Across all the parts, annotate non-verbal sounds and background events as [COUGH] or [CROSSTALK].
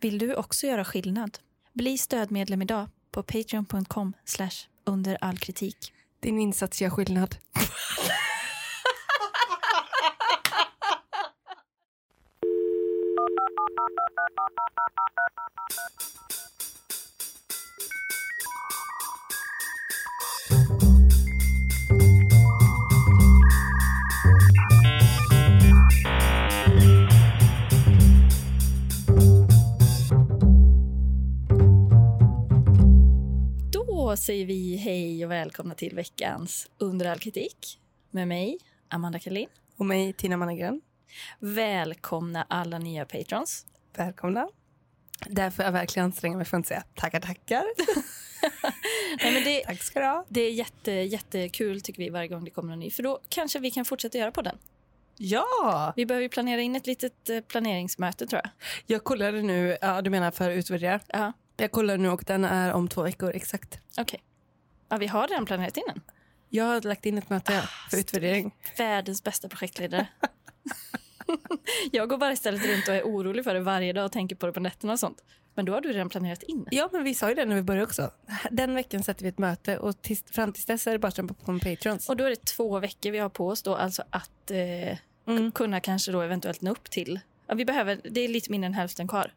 Vill du också göra skillnad? Bli stödmedlem idag på patreon.com under all kritik. Din insats gör skillnad. Då säger vi hej och välkomna till veckans Under all kritik med mig, Amanda Kalin. Och mig, Tina Mannegren. Välkomna alla nya patrons. Välkomna. Därför jag verkligen anstränga mig för att inte säga tackar, tackar. Nej, men det, [LAUGHS] Tack ska du ha. det är jätte, jättekul tycker vi varje gång det kommer en ny, för då kanske vi kan fortsätta göra på den. Ja! Vi behöver ju planera in ett litet eh, planeringsmöte tror jag. Jag kollade nu, ja du menar för att utvärdera. Ja, Jag kollar nu och den är om två veckor exakt. okej. Ja, vi har redan planerat in den. Jag har lagt in ett möte för utvärdering. Världens bästa projektledare. [LAUGHS] jag går bara istället runt och är orolig för det varje dag och tänker på det på nätterna och sånt. Men då har du redan planerat in. Ja, men vi sa ju det när vi började också. Den veckan sätter vi ett möte och tills, fram tills dess är det bara att strömpa på med Patrons. Och då är det två veckor vi har på oss då alltså att eh, Mm. kunna kanske då eventuellt nå upp till. Ja, vi behöver, det är lite mindre än hälften kvar.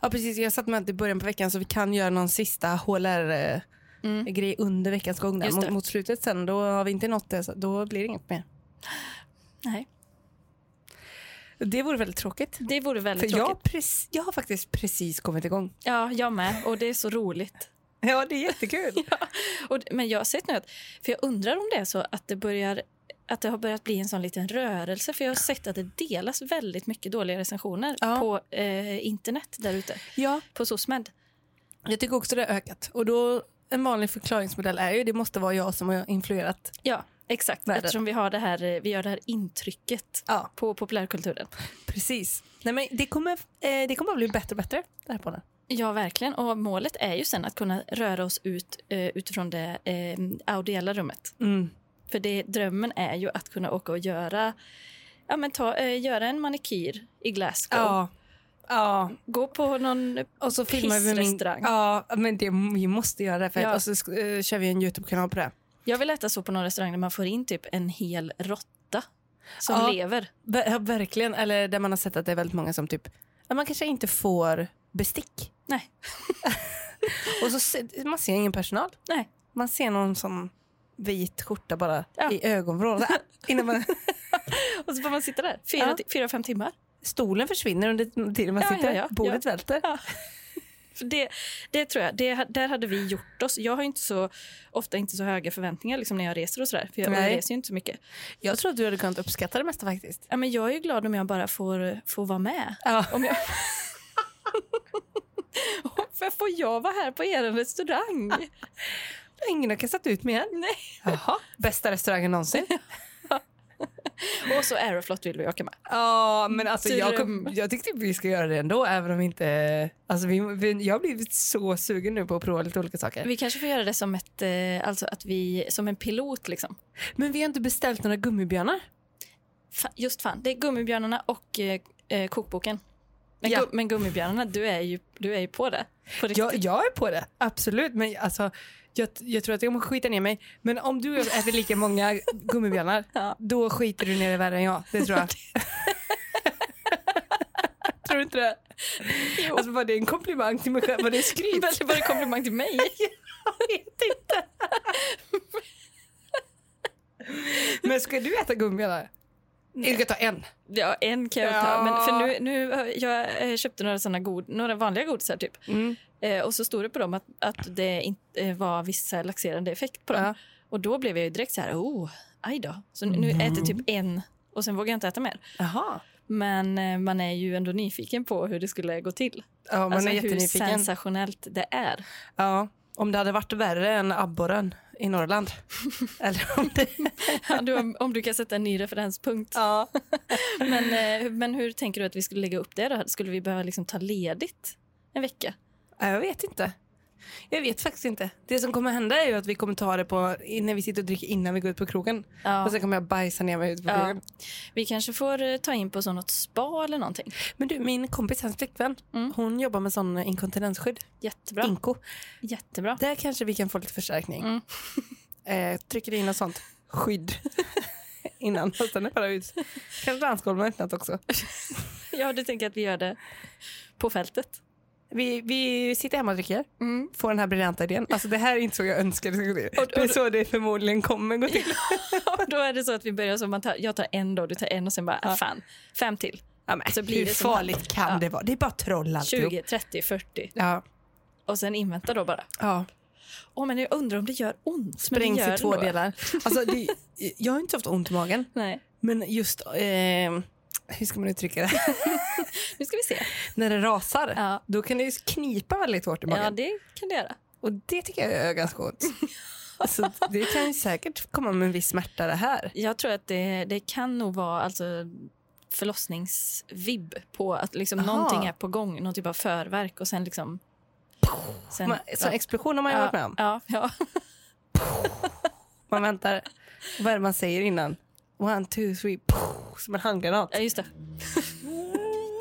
Ja, precis. Jag satt med i början på veckan så vi kan göra någon sista HLR-grej Mm. eh, under veckans gång. Där. Just Mot, det. mot slutet sen, då har vi inte nått det, så då blir det inget mer. Nej, Det vore väldigt tråkigt. det vore väldigt För jag, har tråkigt. prec- jag har faktiskt precis kommit igång. Ja, jag med. Och det är så roligt. [LAUGHS] Ja, det är jättekul. Och, men jag har sett nu att, för jag undrar om det är så att det börjar att det har börjat bli en sån liten rörelse. För jag har sett att det delas väldigt mycket dåliga recensioner Ja. på eh, internet där ute. ja, På SOSMED. jag tycker också det har ökat. Och då, en vanlig förklaringsmodell är ju det måste vara jag som har influerat. Ja, exakt. Världen. Eftersom vi, har det här, eh, vi gör det här intrycket Ja, på populärkulturen. precis. Nej, men det kommer, eh, det kommer att bli bättre och bättre, det här podden. Ja, verkligen. Och målet är ju sen att kunna röra oss ut eh, utifrån det eh, audiella rummet. Mm. För det, drömmen är ju att kunna åka och göra, ja, men ta, eh, göra en manikyr i Glasgow. Ja. Ja, Gå på någon... och så filmar vi min... Pissrestaurang. Ja, men det, vi måste göra det. För Ja. Och så sk- eh, kör vi en Youtube-kanal på det. Jag vill äta så på någon restaurang där man får in typ en hel råtta som Ja. lever. Ver- ja, verkligen, eller där man har sett att det är väldigt många som typ, ja, man kanske inte får bestick. Nej. Och så se, man ser ingen personal. Nej. Man ser någon som vit skjorta bara Ja. i [LAUGHS] ögonvrån. Så här, Innan man, Och så får man sitta där fyra, Ja. ti- fyra fem timmar. stolen försvinner under tiden man Ja, sitter. ja, ja, Bordet välter. För det, det tror jag, det, där hade vi gjort oss. Jag har ju inte så, ofta inte så höga förväntningar liksom när jag reser och sådär. För jag, och jag Nej. reser ju inte så mycket. Jag tror att du hade kunnat uppskatta det mesta faktiskt. Ja, men jag är ju glad om jag bara får, får vara med. [LAUGHS] Ja. Om jag... Varför får jag vara här på er restaurang? Ingen har kastat ut mig än. Nej. Jaha. Bästa restaurangen någonsin. [LAUGHS] Och så Aeroflot vill vi åka med. [LAUGHS] Ja, men alltså jag, Dröm. kom, jag tyckte vi ska göra det ändå, även om inte... Alltså vi, vi, jag har blivit så sugen nu på att prova lite olika saker. Vi kanske får göra det som, ett, eh, alltså att vi, som en pilot. Liksom. Men vi har inte beställt några gummibjörnar. Fa- just fan, det är Gummibjörnarna och eh, eh, kokboken. Men, Ja. gu- men Gummibjörnarna, du är ju, du är ju på det. På riktigt. Jag, jag är på det, absolut. Men alltså, jag, jag tror att jag kommer skita ner mig. Men om du och jag äter lika många gummibjörnar, Ja. då skiter du ner dig värre än jag. Det [LAUGHS] tror jag. tror du inte det? Jo. Alltså, var det en komplimang till mig själv? Var det [LAUGHS] skryt? Väl, [LAUGHS] det var en komplimang till [LAUGHS] mig. men ska du äta gummibjörnar? Jag ska ta en. Ja, en kan jag Ja. ta. Men för nu, nu, jag eh, köpte några, såna god, några vanliga godisar typ. Mm. Eh, och så stod det på dem att, att det in, eh, var vissa laxerande effekt på dem. Ja. Och då blev jag ju direkt så här, oh, aj då. Så nu, nu Mm. äter jag typ en och sen vågar jag inte äta mer. Jaha. Men eh, man är ju ändå nyfiken på hur det skulle gå till. Ja, man alltså är hur jättenyfiken. sensationellt det är. [LAUGHS] Ja, om det hade varit värre än abborren i [LAUGHS] Norrland. Eller om det... Ja, du, om, om du kan sätta en ny referenspunkt. Ja. Men, eh, men hur tänker du att vi skulle lägga upp det då? Skulle vi behöva liksom ta ledigt en vecka? Jag vet inte. Jag vet faktiskt inte. Det som kommer hända är ju att vi kommer ta det på när vi sitter och dricker innan vi går ut på krogen. Ja. Och sen kommer jag bajsa ner mig ute på Ja. krogen. Vi kanske får eh, ta in på så något spa eller någonting. Men du, min kompis, hans flickvän, Mm. hon jobbar med sån inkontinensskydd. Jättebra. Inko. Jättebra. Där kanske vi kan få lite förstärkning. Mm. [LAUGHS] eh, trycker in något sånt skydd [LAUGHS] innan och sen är det bara ut. Kanske dansgolven har öppnat också. [LAUGHS] Ja, du tänker att vi gör det på fältet? [LAUGHS] Vi, vi sitter hemma och dricker, Mm. får den här briljanta idén. Alltså det här är inte så jag önskar det ska gå till. Och- och- Det är så det förmodligen kommer gå till. Då är det så att vi börjar så man tar, jag tar en då, du tar en och sen bara, ah, fan, fem till. Ja, men, Så blir hur det som han. farligt kan Ja. det vara? Det är bara troll alltihop. 20, 30, 40 Ja, och sen invänta då bara. ja. Åh, men jag undrar om det gör ont. men Sprängs det gör i det två nog. [LAUGHS] delar. Alltså, det, jag har inte haft ont i magen, Nej, men just... Eh, hur ska man uttrycka det? [LAUGHS] nu ska vi se. När det rasar, Ja. då kan det ju knipa väldigt hårt i magen. Ja, det kan det göra. Och det tycker jag är [LAUGHS] ganska ont. Så det kan ju säkert komma med en viss smärta det här. Jag tror att det, det kan nog vara alltså, förlossningsvibb på att liksom Aha. någonting är på gång, någon typ av förverk och sen liksom... Sen, Man, så explosion har man ju varit med om. Ja, ja, Man väntar. Vad är det man säger innan? One, two, three. Poof, som en handgranat. ja, [LAUGHS] just det.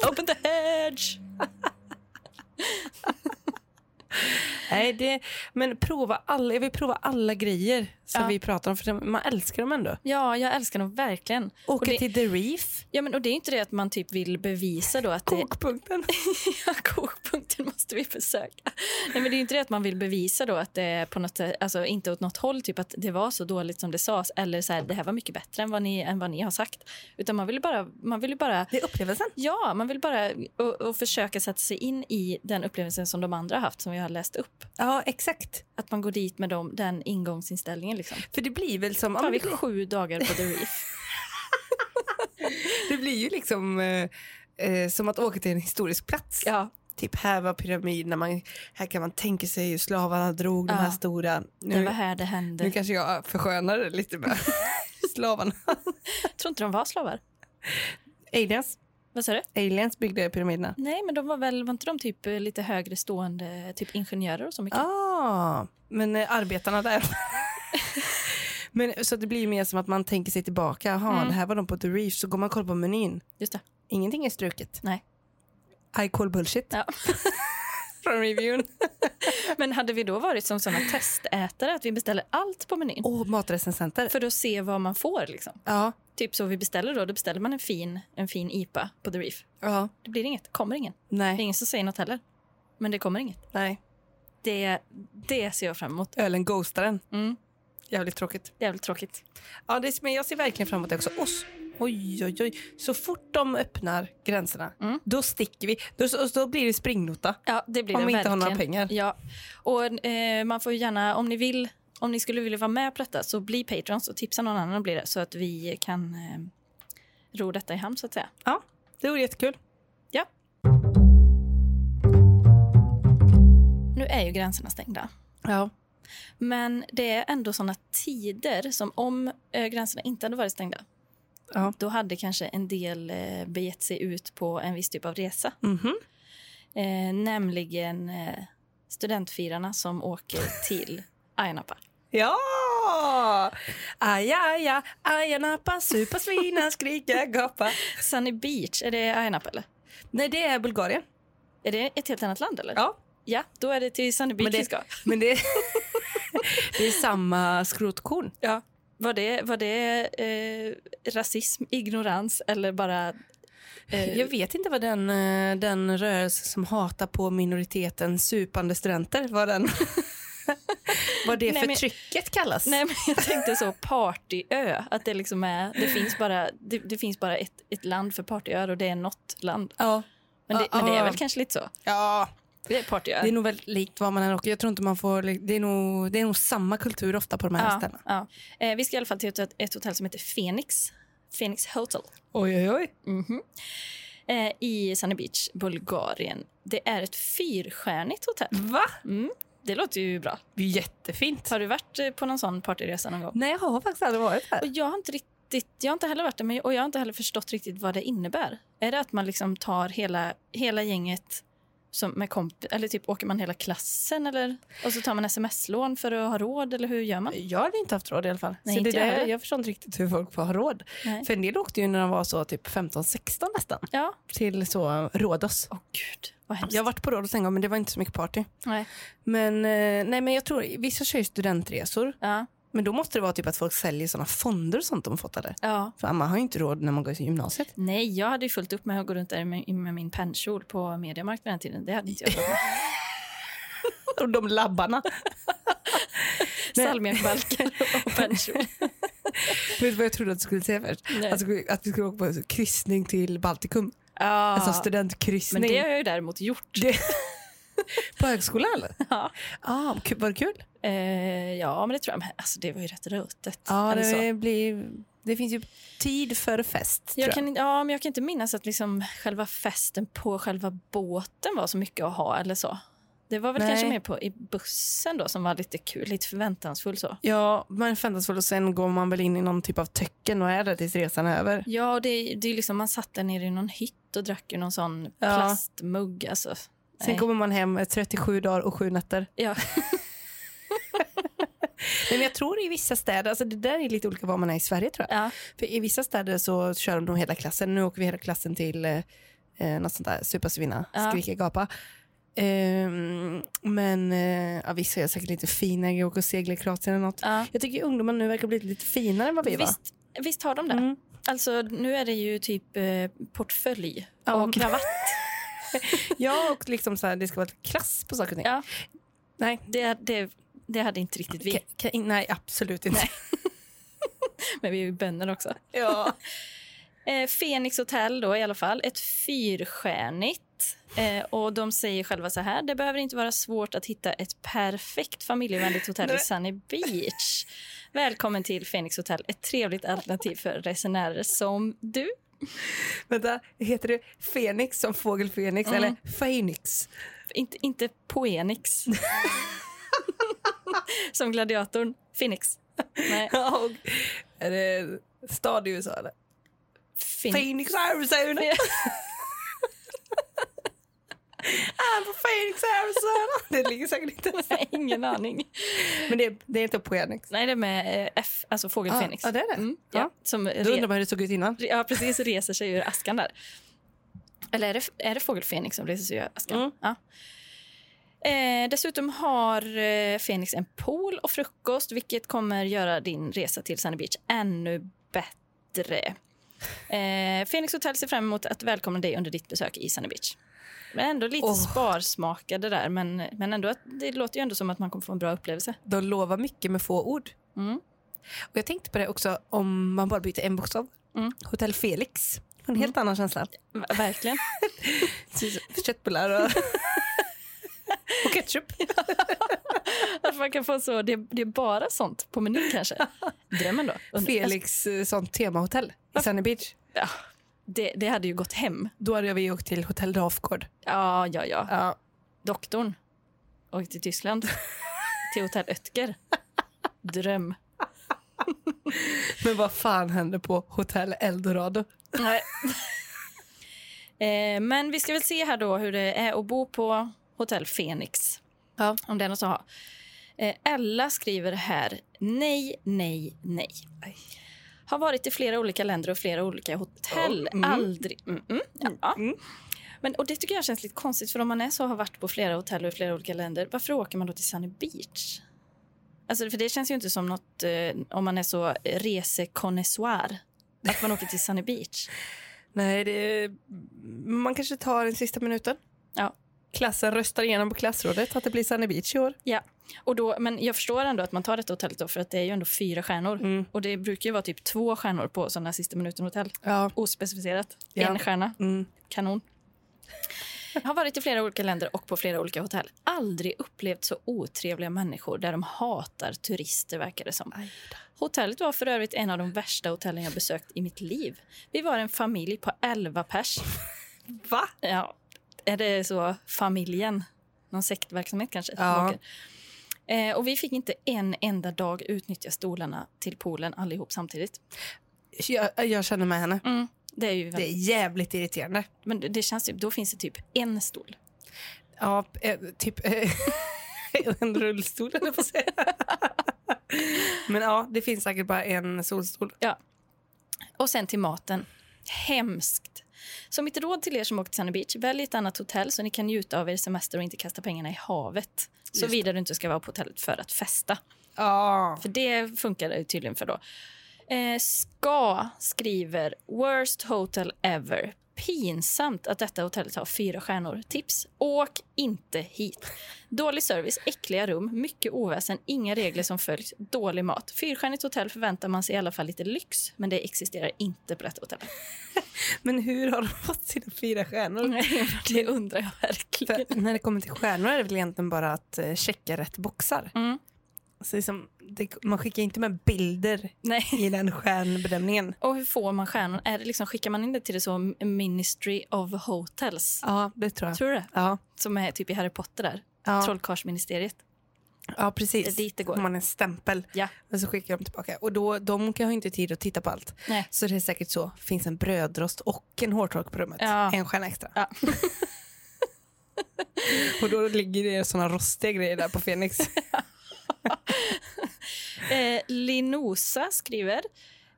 Open the hedge! Nej, det, men prova alla, jag vill prova alla grejer som Ja. vi pratar om. För det- man älskar dem ändå. Ja, jag älskar dem verkligen. Och Åka det, till The Reef. ja, men, och det är inte det att man typ vill bevisa då att det, Kokpunkten. Ja, kokpunkten måste vi besöka. Nej, men det är ju inte det att man vill bevisa då att det är på något, sätt- alltså inte åt något håll, typ att det var så dåligt som det sades eller så här, det här var mycket bättre än vad ni, än vad ni har sagt. Utan man vill ju bara, man vill ju bara [LAUGHS] Det är upplevelsen. Ja, man vill bara och, och försöka sätta sig in i den upplevelsen som de andra har haft, som vi har läst upp. Ja, exakt. Att man går dit med dem, den ingångsinställningen. Liksom. För det blir väl som... Ja, Tar men vi det, blir, sju dagar på The Reef? det blir ju liksom eh, eh, som att åka till en historisk plats. [LAUGHS] Ja, Typ här var pyramiderna, man, här kan man tänka sig hur slavarna drog Ja. de här stora. det Nu, var här det nu hände. kanske jag förskönar det lite [LAUGHS] med slavarna. Jag tror inte de var slavar. Aliens. Vad sa du? Aliens byggde pyramiderna. Nej, men de var väl, var inte de typ eh, lite högre stående typ ingenjörer och så mycket? Ah, men eh, [LAUGHS] arbetarna där. men, så det blir mer som att man tänker sig tillbaka. Jaha, Mm. det här var de på The Reef. Så går man och kollar på menyn. Just det. Ingenting är struket. Nej. I call bullshit. Ja. [LAUGHS] Från reviewn. Men hade vi då varit som såna testätare att vi beställer allt på menyn Och oh, matrecensenter. för att se vad man får liksom? Ja. Typ så vi beställer då, då beställer man en fin, en fin IPA på The Reef. ja. Det blir inget, kommer ingen. Det är Nej. ingen som säger något heller. Men det kommer inget. Nej. Det, det ser jag fram emot. Ölen ghostar den. Mm. Jävligt tråkigt. Jävligt tråkigt. Ja, det, men jag ser verkligen fram emot det också. Oss. Oj, oj, oj. Så fort de öppnar gränserna, Mm. då sticker vi. Då, så- då blir det springnota. Ja, det blir om det vi inte har några verkligen. pengar. Ja, och eh, man får ju gärna, om ni vill, om ni skulle vilja vara med på detta så bli patrons och tipsa någon annan om blir det så att vi kan eh, ro detta i hamn så att säga. Ja, det vore jättekul. Ja. Nu är ju gränserna stängda. Ja. Men det är ändå såna tider som om eh, gränserna inte hade varit stängda Ja. då hade kanske en del eh, begett sig ut på en viss typ av resa. Mhm. Eh, nämligen eh, studentfirarna som [LAUGHS] åker till Ayia Napa. Ja! Aja, aja, aja nappa, supa svina, skrika gapa. Sunny Beach, är det Ayia Napa eller? Nej, det är Bulgarien. Är det ett helt annat land eller? Ja. Ja, då är det till Sunny Beach Men det- vi ska. Men det, [LAUGHS] det är samma skrotkorn. Ja. Var det, var det eh, rasism, ignorans eller bara... Eh, Jag vet inte vad den, eh, den rörelse som hatar på minoriteten supande studenter, vad, den, [LAUGHS] vad det Nej, men- förtrycket [LAUGHS] kallas. Nej, men jag tänkte så partyö. Att det liksom är... Det finns bara, det, det finns bara ett, ett land för partyöar och det är något land. Ja. Men det, Ja, men det är ja. väl kanske lite så. ja, Det är partyöar. Ah, det är nog väldigt likt vad man än åker. Jag tror inte man får, det är nog, det är nog samma kultur ofta på de här ja, ställena. ja. Eh, vi ska i alla fall till ett, ett hotell som heter Phoenix. Phoenix Hotel. Oj, oj, oj. Eh, I Sunny Beach, Bulgarien. Det är ett fyrstjärnigt hotell. Va? Mm, det låter ju bra. Jättefint. Har du varit eh, på någon sån partyresa någon gång? Nej, jag har faktiskt aldrig varit Och här. jag har inte riktigt, jag har inte heller varit där, men och jag har inte heller förstått riktigt vad det innebär. Är det att man liksom tar hela, hela gänget som med komp- eller typ åker man hela klassen eller, och så tar man sms-lån för att ha råd eller hur gör man? Jag hade inte haft råd i alla fall. Nej, så inte det jag där, heller. jag förstår inte riktigt hur folk får ha råd. Nej. För en del åkte ju när de var så typ 15-16 nästan Ja. till så Rhodos. Åh gud, vad hemskt. Jag har varit på Rhodos en gång men det var inte så mycket party. Nej. Men, eh, nej, men jag tror, vissa kör ju studentresor Ja. men då måste det vara typ att folk säljer sådana fonder och sånt de fått eller? ja. För man har ju inte råd när man går i gymnasiet. [LAUGHS] Nej, jag hade ju fullt upp med att gå runt där med, med min pennkjol på Mediamarkt vid den här tiden. Det hade inte [LAUGHS] jag råd med. Och de labbarna. Nej. Salmiakbalken och [LAUGHS] pennkjol. [LAUGHS] Vet du vad jag trodde att du skulle säga först? Nej. Att, vi- att vi skulle åka på kryssning till Baltikum. Ja. Alltså Men studentkryssning. det har jag ju däremot gjort. Det- På högskolan eller? [LAUGHS] Ja. Ah, kul- var det kul? Eh, ja, men det tror jag. Men alltså, det var ju rätt rötet. Ja, Eller så. det, blir, det finns ju tid för fest. Jag tror kan, inte- ja, men jag kan inte minnas att liksom själva festen på själva båten var så mycket att ha. eller så. Det var väl Nej. kanske mer på, i bussen då som var lite kul, lite förväntansfull. så. Ja, man förväntas väl och sen går man väl in i någon typ av töcken och är där tills resan är över. Ja, det, är- det är liksom, man satt där nere i någon hytt och drack ur någon sån Ja. plastmugg. Alltså. Sen Nej. kommer man hem eh, 37 dagar och 7 nätter. [LAUGHS] Ja. Nej, men jag tror i vissa städer, alltså det där är lite olika var man är i Sverige tror jag. Ja. För i vissa städer så kör de nog hela klassen, nu åker vi hela klassen till eh, eh, något sånt där, supa, svinna, Ja. skrika, gapa. Ehm, men eh, ja, vissa gör säkert lite fina grejer, åker och seglar i Kroatien eller något. Ja. Jag tycker ungdomarna nu verkar bli lite finare än vad vi var. Visst, visst har de det? Mm. Alltså, nu är det ju typ eh, portfölj Ja. och kravatt. Ja, och liksom så här, det ska vara klass på saker och ting. Ja. Nej, Det, det, det hade inte riktigt vi, Ka- ka- in- nej, absolut inte. men vi är ju bönder också. [LAUGHS] Ja. Eh, Phoenix Hotel då i alla fall, ett fyrstjärnigt. Eh, och de säger själva så här, det behöver inte vara svårt att hitta ett perfekt familjevänligt hotell i Nej. Sunny Beach. Välkommen till Phoenix Hotel, ett trevligt alternativ för resenärer som du. Vänta, heter det Fenix som fågel Fenix Mm. eller Phoenix? Inte, inte Poenix. [LAUGHS] som gladiatorn, Phoenix. Nej, Ja, [LAUGHS] och, är det stad i USA eller? Phoenix. Phoenix, Arizona! [LAUGHS] Ja. I'm from Phoenix, Arizona! Det ligger säkert inte. Nej, [LAUGHS] Ingen aning. Men det, det är inte Phoenix. Nej, det är med eh, F, alltså fågel Ah, Phoenix. ja, det är det. Mm, ja. Ja. Som Då re, undrar man hur det såg ut innan. ja, precis reser sig ur askan där. Eller är det, är det fågel Fenix som reser sig ur askan? Mm. Ja. Eh, dessutom har eh, Fenix en pool och frukost vilket kommer göra din resa till Sunny Beach ännu bättre. Eh, Fenix Hotel ser fram emot att välkomna dig under ditt besök i Sunny Beach. Men ändå lite Åh. sparsmakade där, men, men ändå att, det låter ju ändå som att man kommer få en bra upplevelse. De lovar mycket med få ord. Mm. Och jag tänkte på det också om man bara byter en bokstav. Mm. Hotell Felix. Får En helt annan känsla. V- Verkligen. Köttbullar [LAUGHS] och... och ketchup. [LAUGHS] Att man kan få så, det, det är bara sånt på menyn kanske. Drömmen då? Undrar- Felix eh, sånt temahotell i Sunny Beach. Ja, det, det hade ju gått hem. Då hade vi åkt till Hotell Rafgård. Ja, ja, ja. Ja. Doktorn. Och till Tyskland. till Hotell Ötker. Dröm. Men vad fan hände på Hotell Eldorado? Nej. eh, men vi ska väl se här då hur det är att bo på Hotell Fenix. Ja. Om det är något att ha. Eh, Ella skriver här, nej, nej, nej. Aj. Har varit i flera olika länder och flera olika hotell. Ja, mm. Aldrig... Mm, mm, ja. Mm. Men, och det tycker jag känns lite konstigt, för om man är så och har varit på flera hotell och i flera olika länder, varför åker man då till Sunny Beach? Alltså, för det känns ju inte som något, eh, om man är så resekonnässör, att man åker till Sunny Beach. Nej, det, man kanske tar den sista minuten. Ja. Klassen röstar igenom på klassrådet att det blir Sunny Beach i år. Och då, men jag förstår ändå att man tar detta hotellet då, för att det är ju ändå fyra stjärnor. Mm. Och det brukar ju vara typ två stjärnor på sådana sista minuten-hotell. Ja. Ospecificerat. Ja. En stjärna. Mm. Kanon. Har varit i flera olika länder och på flera olika hotell. Aldrig upplevt så otrevliga människor där de hatar turister, verkar det som. Hotellet var för övrigt en av de värsta hotellen jag besökt i mitt liv. Vi var en familj på 11 pers. Va? Ja, är det så familjen? Någon sektverksamhet kanske? Ja. Som åker. Eh, och vi fick inte en enda dag utnyttja stolarna till poolen allihop samtidigt. Jag, jag känner med henne. Det är ju Mm. Det är jävligt irriterande. Men det- det känns typ, då finns det typ en stol. Ja, eh, typ eh, [LAUGHS] en rullstol eller på att säga. Men ja, det finns säkert bara en solstol. Och sen till maten. Hemskt. Så mitt råd till er som åker till Sunny Beach, välj ett annat hotell så ni kan njuta av er semester och inte kasta pengarna i havet. Såvida du inte ska vara på hotellet för att festa. Ja. För det funkar det ju tydligen för då. Eh, ska skriver worst hotel ever. Pinsamt att detta hotellet har fyra stjärnor. Tips. Åk inte hit. Dålig service, äckliga rum, mycket oväsen, inga regler som följs, dålig mat. Fyrstjärnigt hotell förväntar man sig i alla fall lite lyx, men det existerar inte på detta hotell. Men hur har de fått sina fyra stjärnor? [LAUGHS] det undrar jag verkligen. För när det kommer till stjärnor är det väl egentligen bara att eh, checka rätt boxar. Mm. Så liksom, det, man skickar inte med bilder Nej. i den stjärnbedömningen. Och hur får man stjärnor? Är det liksom, skickar man in det till det så Ministry of Hotels? Ja, det tror jag. Tror du det? Ja, Som är typ i Harry Potter där. ja, Trollkarlsministeriet. ja Det precis. är dit det går. Får man en stämpel Ja. och så skickar de tillbaka. Och då, de kan ju inte tid att titta på allt. Nej. Så det är säkert så. Finns en brödrost och en hårtork på rummet. Ja. En stjärna extra. Ja. [LAUGHS] och då ligger det sådana rostiga grejer där på Fenix. Eh, Linosa skriver,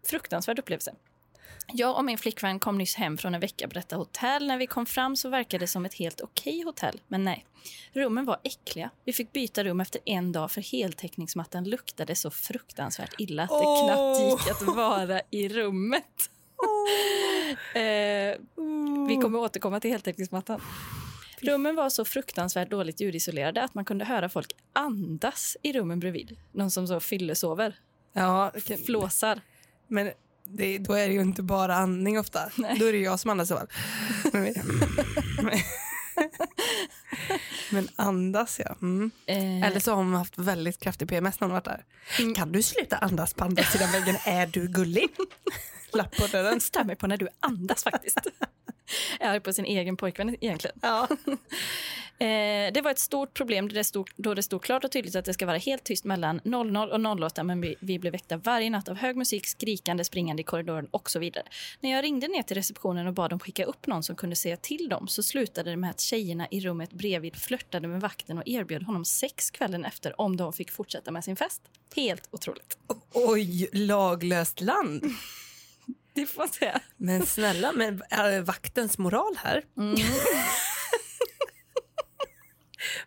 fruktansvärd upplevelse. Jag och min flickvän kom nyss hem från en vecka på detta hotell. När vi kom fram så verkade det som ett helt okej hotell, men nej. Rummen var äckliga. Vi fick byta rum efter en dag för heltäckningsmattan luktade så fruktansvärt illa att det Åh. knappt gick att vara i rummet. [LAUGHS] Eh, vi kommer återkomma till heltäckningsmattan. Rummen var så fruktansvärt dåligt ljudisolerade att man kunde höra folk andas i rummen bredvid. Någon som så fyllesover, ja, okej. flåsar. men det, då är det ju inte bara andning ofta. Då är det jag som andas i så fall. Men- [LAUGHS] Men andas ja. Mm. Eh, Eller så har hon haft väldigt kraftig PMS när hon varit där. Kan du sluta andas på andra sidan väggen? Är du gullig? Lapp på dörren. stör mig på när du andas faktiskt. [LAUGHS] Jag är arg på sin egen pojkvän egentligen. Ja. Eh, det var ett stort problem då det, stod, då det stod klart och tydligt att det ska vara helt tyst mellan 00 och 08 men vi, vi blev väckta varje natt av hög musik, skrikande, springande i korridoren och så vidare. När jag ringde ner till receptionen och bad dem skicka upp någon som kunde säga till dem så slutade det med att tjejerna i rummet bredvid flörtade med vakten och erbjöd honom sex kvällen efter om de fick fortsätta med sin fest. Helt otroligt. Oj, laglöst land. Det får man säga. Men snälla, men är vaktens moral här? [LAUGHS]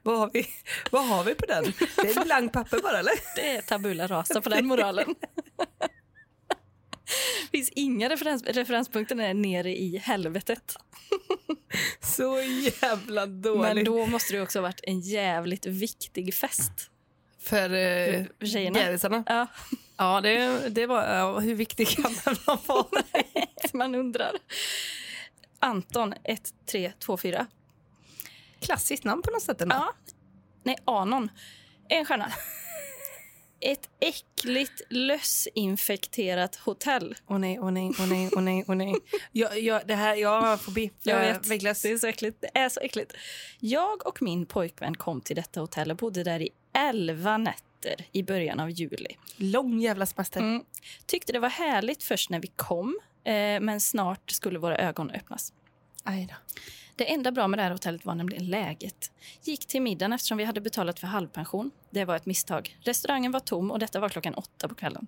vad, har vi, vad har vi på den? Det är blankt papper bara eller? Det är tabula rasa på den [LAUGHS] moralen. Det finns inga referens, referenspunkter är nere i helvetet. Så jävla dåligt. Men då måste det också ha varit en jävligt viktig fest. För eh, För tjejerna. bebisarna. Ja, Ja, det, det var, ja, hur viktig kan man vara? [LAUGHS] man undrar. Anton 1324. Klassiskt namn på något sätt ändå. Ja. Nej, Anon. En stjärna. Ett äckligt lössinfekterat hotell. Åh nej, åh nej, åh nej, åh nej, åh nej. Jag, jag, det här, jag har fobi. Jag vet. Väglas. Det är så äckligt. Det är så äckligt. Jag och min pojkvän kom till detta hotell och bodde där i elva nätter i början av juli. Lång jävla semester. Mm. Tyckte det var härligt först när vi kom, eh, men snart skulle våra ögon öppnas. Aj då. Det enda bra med det här hotellet var nämligen läget. Gick till middagen eftersom vi hade betalat för halvpension. Det var ett misstag. Restaurangen var tom och detta var klockan åtta på kvällen.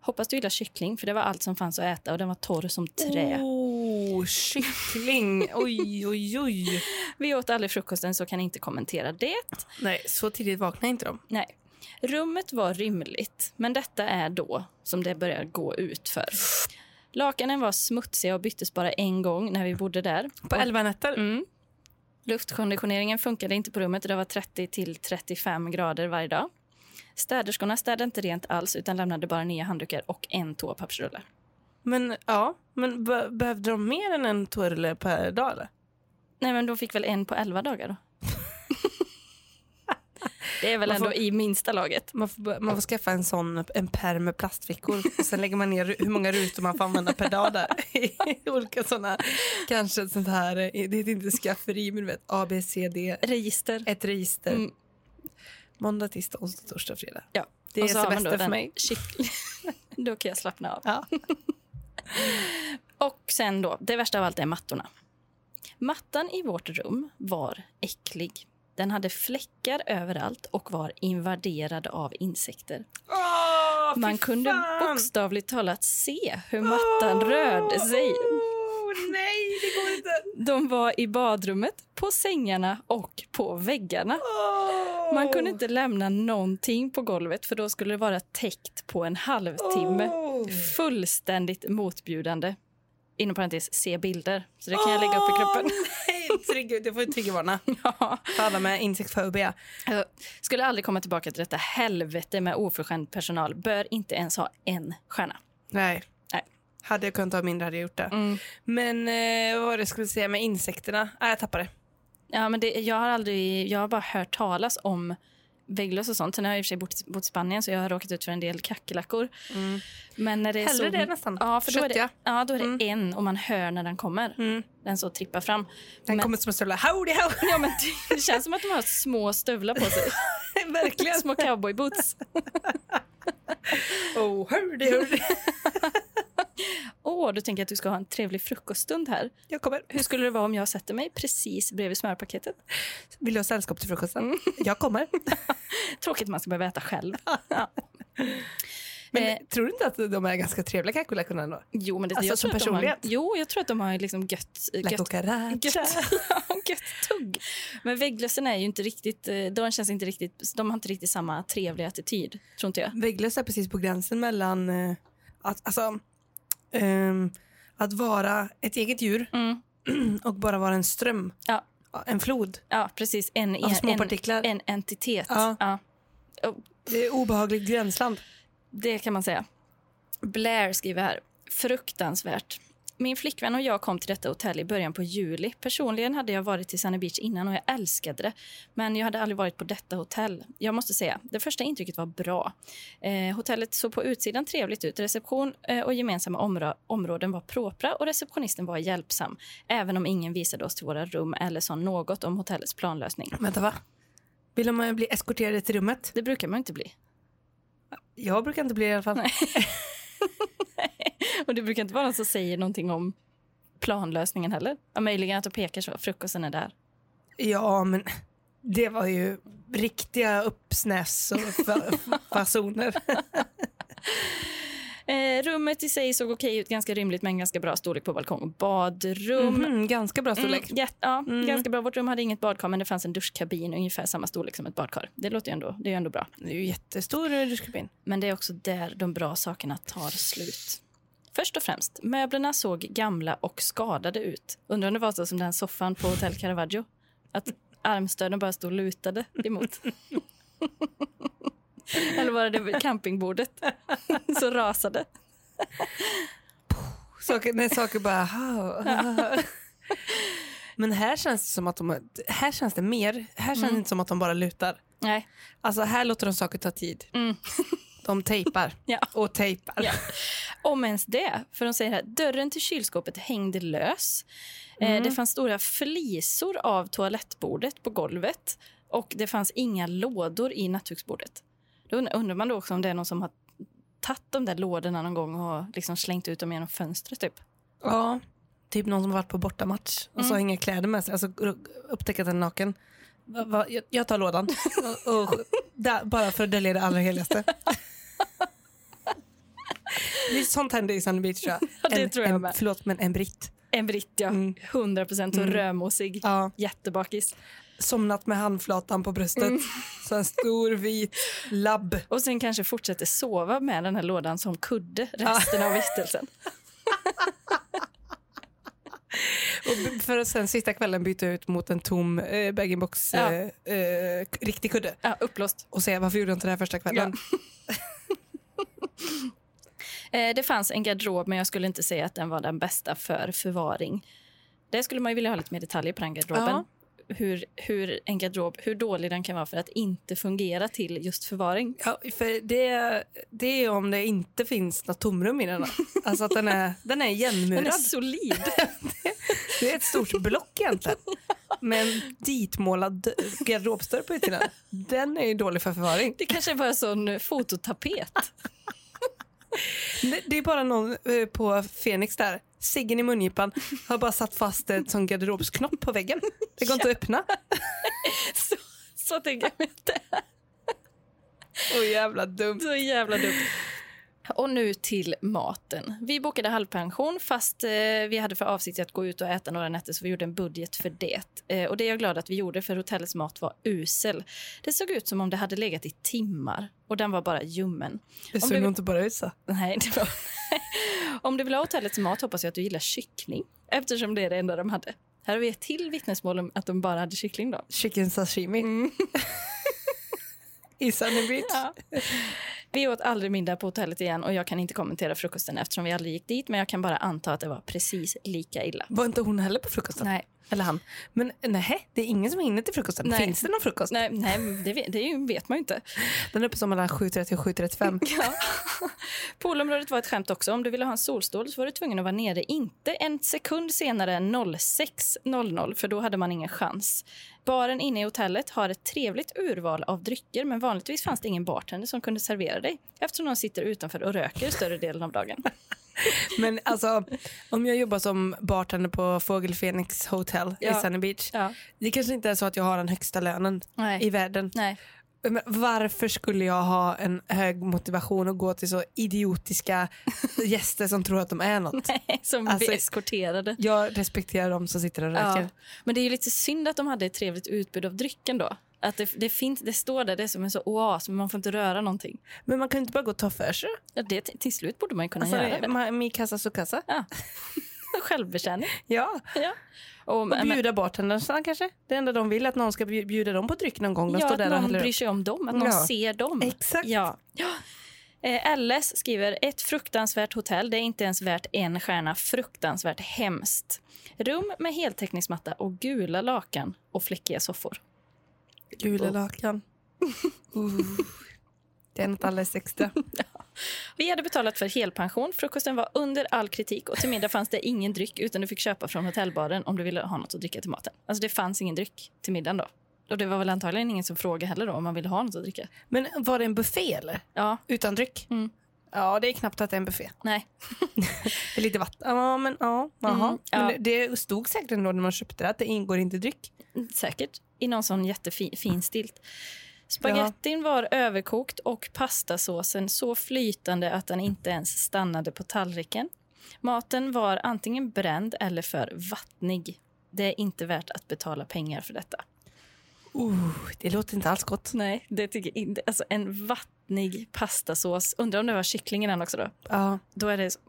Hoppas du gillar kyckling, för det var allt som fanns att äta och den var torr som trä. Oh, kyckling. Oj, oj, oj. Vi åt aldrig frukosten så kan inte kommentera det. Nej, så tidigt vaknar inte de. Nej. Rummet var rymligt, men detta är då som det börjar gå ut för. Lakanen var smutsiga och byttes bara en gång när vi bodde där. På elva nätter? Mm. Luftkonditioneringen funkade inte på rummet och det var 30 till 35 grader varje dag. Städerskorna städade inte rent alls utan lämnade bara nya handdukar och en toapappersrulle. Men ja, men be- behövde de mer än en toarulle per dag eller? Nej, men de fick väl en på 11 dagar [LAUGHS] då? det är väl Man får- ändå i minsta laget. Man får, be- man får skaffa en sån, en pärm med plastfickor [LAUGHS] och sen lägger man ner ru- hur många rutor man får använda per dag där. [LAUGHS] I olika sådana, kanske ett sånt här, eh, det är inte skafferi men du vet A, B, C, D, Register. ett register. Mm. Måndag, tisdag, onsdag, torsdag, fredag. Ja. Det Och är så har man semester då för den mig. kyckling- [LAUGHS] då kan jag slappna av. Ja. [LAUGHS] Och sen då, det värsta av allt är mattorna. Mattan i vårt rum var äcklig. Den hade fläckar överallt och var invaderad av insekter. Åh, fy Man kunde fan! bokstavligt talat se hur mattan rörde sig. Åh, nej, det går inte. De var i badrummet, på sängarna och på väggarna. Åh. Man kunde inte lämna någonting på golvet för då skulle det vara täckt på en halvtimme. Åh. Fullständigt motbjudande. Inom parentes, se bilder. Så det kan jag lägga upp Ah! i gruppen. Åh, nej, trigger, det får ju triggervarna [LAUGHS] Ja. för alla med insektsfobia. Jag skulle aldrig komma tillbaka till detta helvete med oförskämd personal. Bör inte ens ha en stjärna. Nej. Nej. Mm. Hade jag kunnat ha mindre hade jag gjort det. Men eh, vad var det jag skulle säga med insekterna? Nej, jag tappade det. Ja, men det, jag, har aldrig, jag har bara hört talas om vägglöss och sånt. Sen har jag i och för sig bott, bott i Spanien så jag har råkat ut för en del kackerlackor. Men när det är Mm. Hellre så, det nästan. Mm. Ja, för då är det, Köttiga. ja, då är det en och man hör när den kommer. Den så trippar fram. Mm. Den men, kommer som en sån där howdy how. ja, men det, det känns som att de har små stövlar på sig. [LAUGHS] [LAUGHS] Verkligen. små cowboyboots. Oh, howdy howdy. Åh, du tänker jag att du ska ha en trevlig frukoststund här. Jag kommer. Hur skulle det vara om jag sätter mig precis bredvid smörpaketet? [LAUGHS] Vill du ha sällskap till frukosten? Mm. Jag kommer. Tråkigt man ska behöva äta [LAUGHS] själv. Men Eh. tror du inte att de är ganska trevliga kackerlackorna ändå? Jo, men det, Alltså, jag som tror att de har, personlighet? jo, jag tror att de har liksom gött, La gött, cucaracha. gött, [LAUGHS] gött tugg. Men vägglössen är ju inte riktigt, eh, de känns inte riktigt, de har inte riktigt samma trevliga attityd, tror inte jag. Vägglöss är precis på gränsen mellan eh, att, alltså, ehm, att vara ett eget djur Mm. [CLEARS THROAT] och bara vara en ström. Ja. En flod Ja, precis. En, av en, små partiklar. en, en entitet. Ja. Ja, Det är obehagligt gränsland. det kan man säga. Blair skriver här. Fruktansvärt. Min flickvän och jag kom till detta hotell i början på juli. Personligen hade jag varit till Sunny Beach innan och jag älskade det. Men jag hade aldrig varit på detta hotell. Jag måste säga, det första intrycket var bra. Eh, hotellet såg på utsidan trevligt ut. Reception eh, och gemensamma omra- områden var propra och receptionisten var hjälpsam. Även om ingen visade oss till våra rum eller sa något om hotellets planlösning. Vänta, va? Vill man bli eskorterad till rummet? Det brukar man ju inte bli. Jag brukar inte bli det i alla fall. Och det brukar inte vara någon som säger någonting om planlösningen heller. Ja, möjligen att de pekar så, frukosten är där. Ja, men det var ju riktiga uppsnäs och [LAUGHS] fa- fasoner. Eh, rummet i sig såg okej ut, ganska rymligt men ganska bra storlek på balkong och badrum. [LAUGHS] Mhm, ganska bra Mm, storlek. jät- ja, ganska bra. Vårt rum hade inget badkar men det fanns en duschkabin ungefär samma storlek som ett badkar. Det låter ju ändå, det är ju ändå bra. Det är ju jättestor duschkabin. Men det är också där de bra sakerna tar slut. Först och främst, möblerna såg gamla och skadade ut. Undrar om det var så som den soffan på Hotel Caravaggio. Att armstöden bara stod lutade emot. Eller var det campingbordet [LAUGHS] som rasade? Saker, när saker bara... [LAUGHS] Men här känns det som att de... Här känns det mer. Här Mm. känns det inte som att de bara lutar. Nej. Alltså här låter de saker ta tid. Mm. [LAUGHS] De tejpar. Ja. Och tejpar. Ja. Om ens det. För de säger här, dörren till kylskåpet hängde lös. Eh, det fanns stora flisor av toalettbordet på golvet. Och det fanns inga lådor i nattduksbordet. Då und- undrar man då också om det är någon som har tagit de där lådorna någon gång och liksom slängt ut dem genom fönstret typ. Ja, typ någon som varit på bortamatch och så Mm. har inga kläder med sig. Alltså upptäckt att den är naken. Va, va, jag, jag [LAUGHS] tar lådan. och, och, där, bara för att dölja det allra heligaste. det är sånt händer i Sunny Beach tror jag. Ja, det en, tror jag en, med. Förlåt, men en britt. En britt ja, 100 procent och rödmosig. Ja, Jättebakis. somnat med handflatan på bröstet. Så en stor vit labb. Och sen kanske fortsätter sova med den här lådan som kudde resten av vistelsen. Och b- för att sen sista kvällen byta ut mot en tom eh, bag-in-box Ja. eh, eh, k- riktig kudde. Ja, upplåst. Och säga varför gjorde jag inte det här första kvällen? Eh, Det fanns en garderob, men jag skulle inte säga att den var den bästa för förvaring. Där skulle man ju vilja ha lite mer detaljer på den garderoben. Ja. Hur, hur en garderob, hur dålig den kan vara för att inte fungera till just förvaring. Ja, för det, det är om det inte finns något tomrum i den. då. Alltså att den är, den är Den är igenmurad. solid. Det är ett stort block egentligen. [LAUGHS] Med en ditmålad garderobsdörr på utsidan. Den är ju dålig för förvaring. Det kanske var en sån eh, fototapet. [LAUGHS] Det- Det är bara någon eh, på Fenix där, ciggen i mungipan, [LAUGHS] har bara satt fast ett sån garderobsknopp på väggen. Det går inte att öppna. Så Så tänker jag mig att det är Så jävla [LAUGHS] dumt. så jävla dumt. Och nu till maten. Vi bokade halvpension fast eh, vi hade för avsikt att gå ut och äta några nätter så vi gjorde en budget för det. Eh, och det är jag glad att vi gjorde för hotellets mat var usel. Det såg ut som om det hade legat i timmar och den var bara ljummen. Det Om såg du- nog inte bara ut så. Nej, det var... [LAUGHS] Om du vill ha hotellets mat hoppas jag att du gillar kyckling eftersom det är det enda de hade. Här har vi ett till vittnesmål om att de bara hade kyckling då. Chicken sashimi. Mm. [LAUGHS] I [LAUGHS] Sunny Beach. Vi åt aldrig middag på hotellet igen och jag kan inte kommentera frukosten eftersom vi aldrig gick dit men jag kan bara anta att det var precis lika illa. Var inte hon heller på frukosten? Nej, Eller han. Men nej, det är ingen som hinner till frukosten. Nej. Finns det någon frukost? nej, nej det, vet, det är ju- vet man ju inte. Den är uppe som mellan 7.30 och [LAUGHS] 7.35. Ja. Poolområdet var ett skämt också. Om du ville ha en solstol så var du tvungen att vara nere inte en sekund senare än 06.00 för då hade man ingen chans. Baren inne i hotellet har ett trevligt urval av drycker men vanligtvis fanns det ingen bartender som kunde servera dig eftersom de sitter utanför och röker större delen av dagen. Men alltså, om jag jobbar som bartender på Fågel Phoenix Hotel Ja. i Sunny Beach. Ja. Det kanske inte är så att jag har den högsta lönen Nej. i världen. Nej. Men varför skulle jag ha en hög motivation att gå till så [LAUGHS] idiotiska gäster som tror att de är något? [LAUGHS] Som Alltså- vi eskorterade. Jag respekterar dem som sitter och röker. Ja. Men det är ju lite synd att de hade ett trevligt utbud av drycken då. Att det, det, finns, det står där, det är som en så oas, men man får inte röra någonting. Men man kan inte bara gå och ta för sig. Ja, det, till slut borde man ju kunna Alltså, göra det. [LAUGHS] ma- Mi kassa su kassa. Ja. Självbetjäning. Ja. Ja. Och, Och men- bjuda bartendrarna kanske. Det enda de vill är att någon ska bju- bjuda dem på dryck någon gång. De ja, står att där och någon häller upp. bryr sig om dem, att någon Ja. ser dem. Exakt. Ja. Ja. Eh, LS skriver ett fruktansvärt hotell. Det är inte ens värt en stjärna. Fruktansvärt hemskt. Rum med heltäckningsmatta och gula lakan och fläckiga soffor. [LAUGHS] Gula lakan. Det är något [LAUGHS] alldeles extra. Vi hade betalat för helpension. Frukosten var under all kritik och till middag fanns det ingen dryck utan du fick köpa från hotellbaren om du ville ha något att dricka till maten. Alltså det fanns ingen dryck till middagen då. Och det var väl antagligen ingen som frågade heller då om man ville ha något att dricka. Men var det en buffé eller? Ja, Utan dryck? Mm. Ja, det är knappt att det är en buffé. nej. Det är lite vatten. Ja, men ja. Jaha. Mm, ja. Men det, det stod säkert ändå när man köpte det att det ingår inte dryck. Säkert. I någon sån jättefin stilt. Spagettin var överkokt och pastasåsen så flytande att den inte ens stannade på tallriken. Maten var antingen bränd eller för vattnig. Det är inte värt att betala pengar för detta. Uh, det låter inte alls gott. Nej, det tycker jag inte. Alltså en vattnig pastasås. Undrar om det var kyckling i den också då? Ja. Då är det så-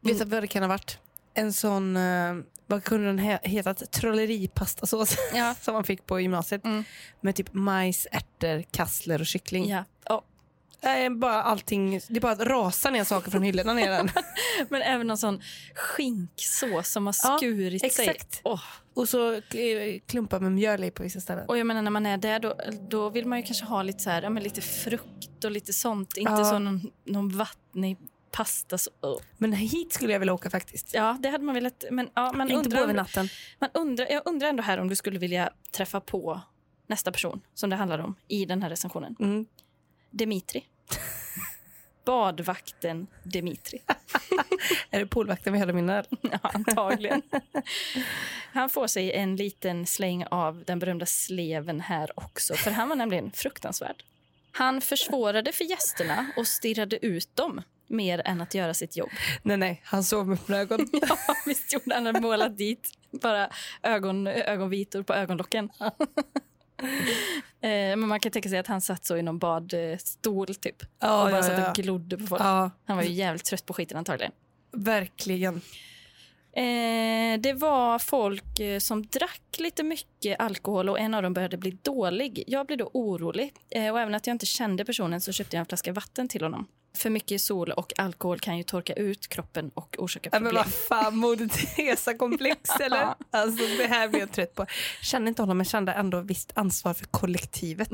Vet du vad det kan ha varit? En sån, eh, vad kunde den he- hetat? Trolleripastasås Ja. [LAUGHS] som man fick på gymnasiet. Mm. Med typ majs, ärtor, kassler och kyckling. Ja. ja. Nej, bara allting, det är bara att rasa ner saker från hyllorna ner [LAUGHS] den. Men även någon sån skinksås som har Ja, skurit exakt. sig. Åh. Och så eh, klumpar med mjöl i på vissa ställen. Och jag menar när man är där då, då vill man ju kanske ha lite så här, ja, men lite frukt och lite sånt. Inte Ja. så någon, någon vattnig pasta. Så, åh. Men hit skulle jag vilja åka faktiskt. Ja, det hade man velat. Men, ja, man inte på undrar, över om, natten. man undrar, jag undrar ändå här om du skulle vilja träffa på nästa person som det handlar om i den här recensionen. Mm. Dimitri. [LAUGHS] Badvakten Dimitri. [LAUGHS] Är det poolvakten vi hade min öl? Ja, antagligen. Han får sig en liten släng av den berömda sleven här också, för han var nämligen fruktansvärd. Han försvårade för gästerna och stirrade ut dem mer än att göra sitt jobb. [LAUGHS] Nej, nej, han sov med öppna ögon. Ja, visst gjorde han. Han målat dit bara ögon, ögonvitor på ögonlocken. [LAUGHS] Eh, Men man kan tänka sig att han satt så i någon badstol typ. [LAUGHS] Ja, och bara ja, satt ja. och glodde på folk. ja, Han var ju jävligt trött på skiten antagligen. [LAUGHS] verkligen. Eh, det var folk eh, som drack lite mycket alkohol och en av dem började bli dålig. Jag blev då orolig eh, och även att jag inte kände personen så köpte jag en flaska vatten till honom. För mycket sol och alkohol kan ju torka ut kroppen och orsaka Ja, problem. men vad fan, Moder [LAUGHS] Teresa-komplex eller? Alltså det här blir jag trött på. Kände inte honom men kände ändå visst ansvar för kollektivet.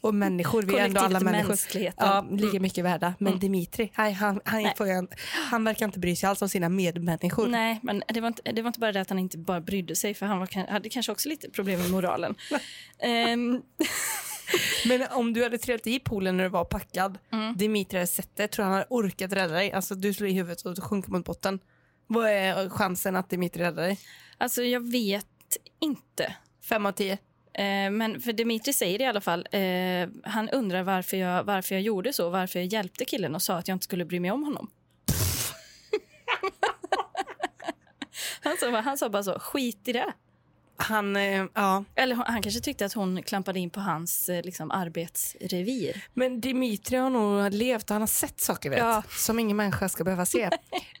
Och människor, vi är ändå alla Kollektivet, människor. mänskligheten. Ja, lika mycket värda. Men Dimitri, Mm. nej, han, han, får ju en, han verkar inte bry sig alls om sina medmänniskor. Nej, men det var, inte, det var inte bara det att han inte bara brydde sig för han var, kan- hade kanske också lite problem med [LAUGHS] moralen. Ehm, Men om du hade trillat i poolen när du var packad, Mm. Dimitri hade sett det, tror han hade orkat rädda dig? Alltså du slår i huvudet och du sjunker mot botten. Vad är chansen att Dimitri räddar dig? alltså jag vet inte. Fem av tio? Eh, men för Dimitri säger i alla fall, eh, han undrar varför jag, varför jag gjorde så, varför jag hjälpte killen och sa att jag inte skulle bry mig om honom. [LAUGHS] han, sa, bara- han sa bara så, skit i det. Han, eh, ja. Eller hon- han kanske tyckte att hon klampade in på hans eh, liksom, arbetsrevir. Men Dimitri har nog levt och han har sett saker vet, Ja. som ingen människa ska [LAUGHS] behöva se.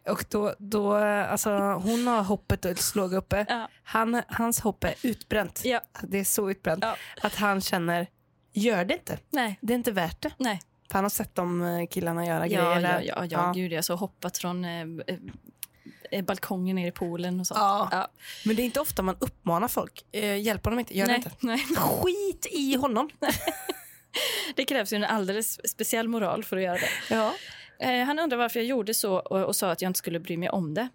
och då, då, eh, alltså, hon har hoppet att slå uppe. Ja. Han, hans hopp är utbränt. Ja. Det är så utbränt Ja. att han känner, gör det inte. Nej, Det är inte värt det. nej. För han har sett de eh, killarna göra Ja, ja, grejer. där. ja, ja, gud, jag så hoppat från eh, eh, eh, balkongen ner i poolen och sånt. Ja. Ja. Men det är inte ofta man uppmanar folk. Eh, hjälp honom inte, gör nej, det inte. nej. Skit i honom. Det krävs ju en alldeles speciell moral för att göra det. Ja. Eh, han undrar varför jag gjorde så och, och sa att jag inte skulle bry mig om det.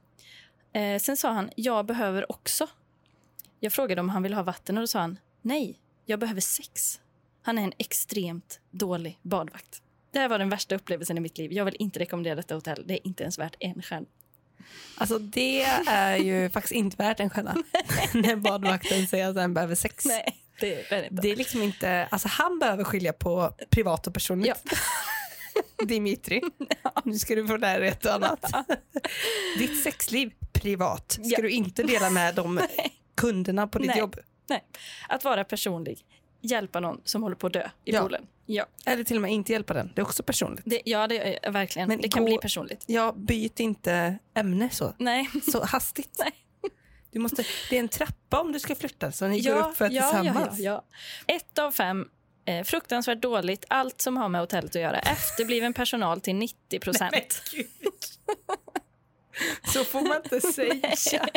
Eh, sen sa han, jag behöver också. Jag frågade om han ville ha vatten och då sa han, nej, jag behöver sex. Han är en extremt dålig badvakt. Det här var den värsta upplevelsen i mitt liv. Jag vill inte rekommendera detta hotell. Det är inte ens värt en stjärna. Alltså det är ju faktiskt inte värt [LAUGHS] en stjärna. När badvakten säger att han behöver [LAUGHS] sex. Nej, det är det inte. Det är liksom inte, alltså han behöver skilja på privat och personligt. Ja. [LAUGHS] Dimitri, nu ska du få lära dig ett och annat. Ditt sexliv, privat, ska Ja. du inte dela [LAUGHS] med de kunderna på ditt Nej. jobb. Nej. Att vara personlig. Hjälpa någon som håller på att dö i Ja. poolen. Ja, Eller till och med inte hjälpa den, det är också personligt. det, ja det, är- verkligen. Men det kan gå- bli personligt. Ja, byt inte ämne så, Nej, så hastigt. Du måste, det är en trappa om du ska flytta så ni går upp för att ja, ja, tillsammans. ja. Ett av fem. Eh, fruktansvärt dåligt. Allt som har med hotellet att göra. Efterbliven personal till 90 procent. Så får man [LAUGHS] inte säga.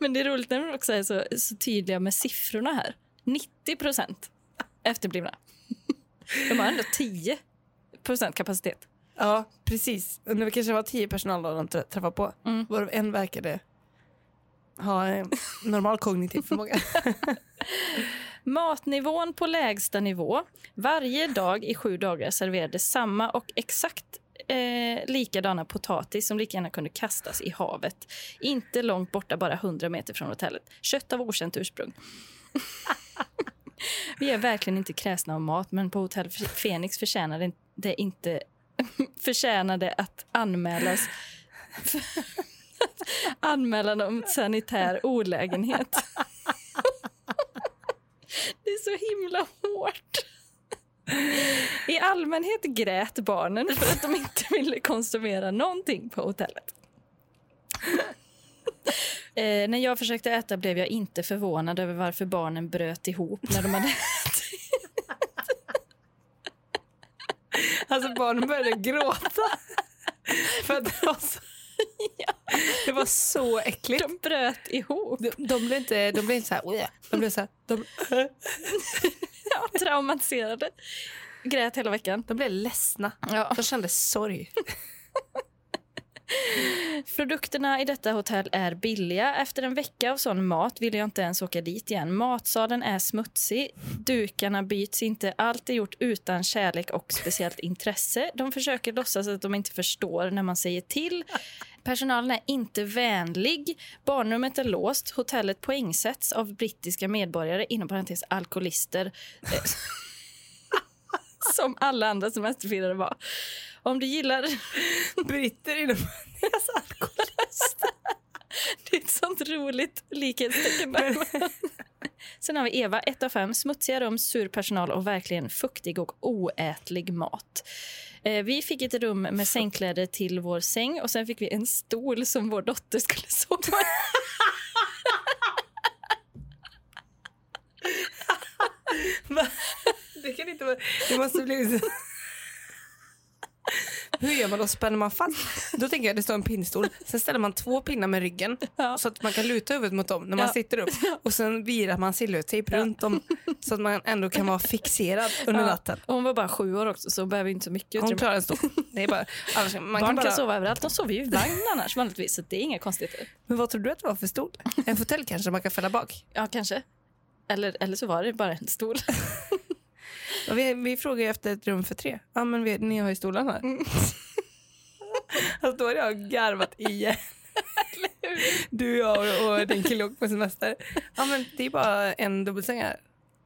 Men det är roligt när de också är så, så tydliga med siffrorna här. 90 procent efterblivna. De har ändå 10 procent kapacitet. Ja, precis. Och Det kanske var tio personal då de trä- träffade på. Mm. Varav en verkade ha eh, normal kognitiv förmåga. [LAUGHS] Matnivån på lägsta nivå. Varje dag i sju dagar serverades samma och exakt eh, likadana potatis som lika gärna kunde kastas i havet. Inte långt borta, bara 100 meter från hotellet. Kött av okänt ursprung. [LAUGHS] Vi är verkligen inte kräsna av mat, men på Hotell Fenix förtjänade det inte [LAUGHS] förtjänade att anmälas [LAUGHS] anmälan om sanitär olägenhet. Det är så himla hårt. I allmänhet grät barnen för att de inte ville konsumera någonting på hotellet. Eh, när jag försökte äta blev jag inte förvånad över varför barnen bröt ihop när de [LAUGHS] hade... Alltså barnen började gråta. För att det var [LAUGHS] så, det var så äckligt. De bröt ihop. De, de blev inte, de blev inte så här, "Oj, ja." de blev så här, de, Ja, traumatiserade. Grät hela veckan. de blev ledsna. Ja. De kände sorg. Produkterna i detta hotell är billiga. Efter en vecka av sån mat vill jag inte ens åka dit igen. Matsalen är smutsig, dukarna byts inte. Allt är gjort utan kärlek och speciellt intresse. De försöker låtsas att de inte förstår när man säger till. Personalen är inte vänlig. Barnrummet är låst. Hotellet poängsätts av brittiska medborgare, inom parentes alkoholister. Eh, [LAUGHS] Som alla andra semesterfirare var. Om du gillar Britter inom deras alkohol. [LAUGHS] Det är ett sånt roligt likhetstecken. där. [LAUGHS] Sen har vi Eva, 1 av 5. Smutsiga rum, sur personal och verkligen fuktig och oätlig mat. Eh, vi fick ett rum med sängkläder till vår säng och sen fick vi en stol som vår dotter skulle sova i. Det kan inte vara, det måste bli så. [LAUGHS] Hur gör man då? Spänner man fast? Då tänker jag det står en pinnstol. Sen ställer man två pinnar med ryggen Ja. så att man kan luta huvudet mot dem när man Ja. sitter upp. Och sen virar man sin lut tejp runt dem så att man ändå kan vara fixerad under natten. Och hon var bara sju år också så hon behöver inte så mycket Hon utrymme. klarar en stol. Det är bara, annars, man Barn kan kan, bara, sova överallt. De sover ju i vagn annars vanligtvis så det är inga konstigheter. men vad tror du att det var för stol? En fåtölj kanske man kan fälla bak? Ja, kanske. Eller, eller så var det bara en stol. Och vi, vi frågar ju efter ett rum för tre. Ja men vi, ni har ju stolarna här. [LAUGHS] Alltså då har jag garvat igen. Du, jag och, och din kille åker på semester. Ja, men det är bara en dubbelsäng här.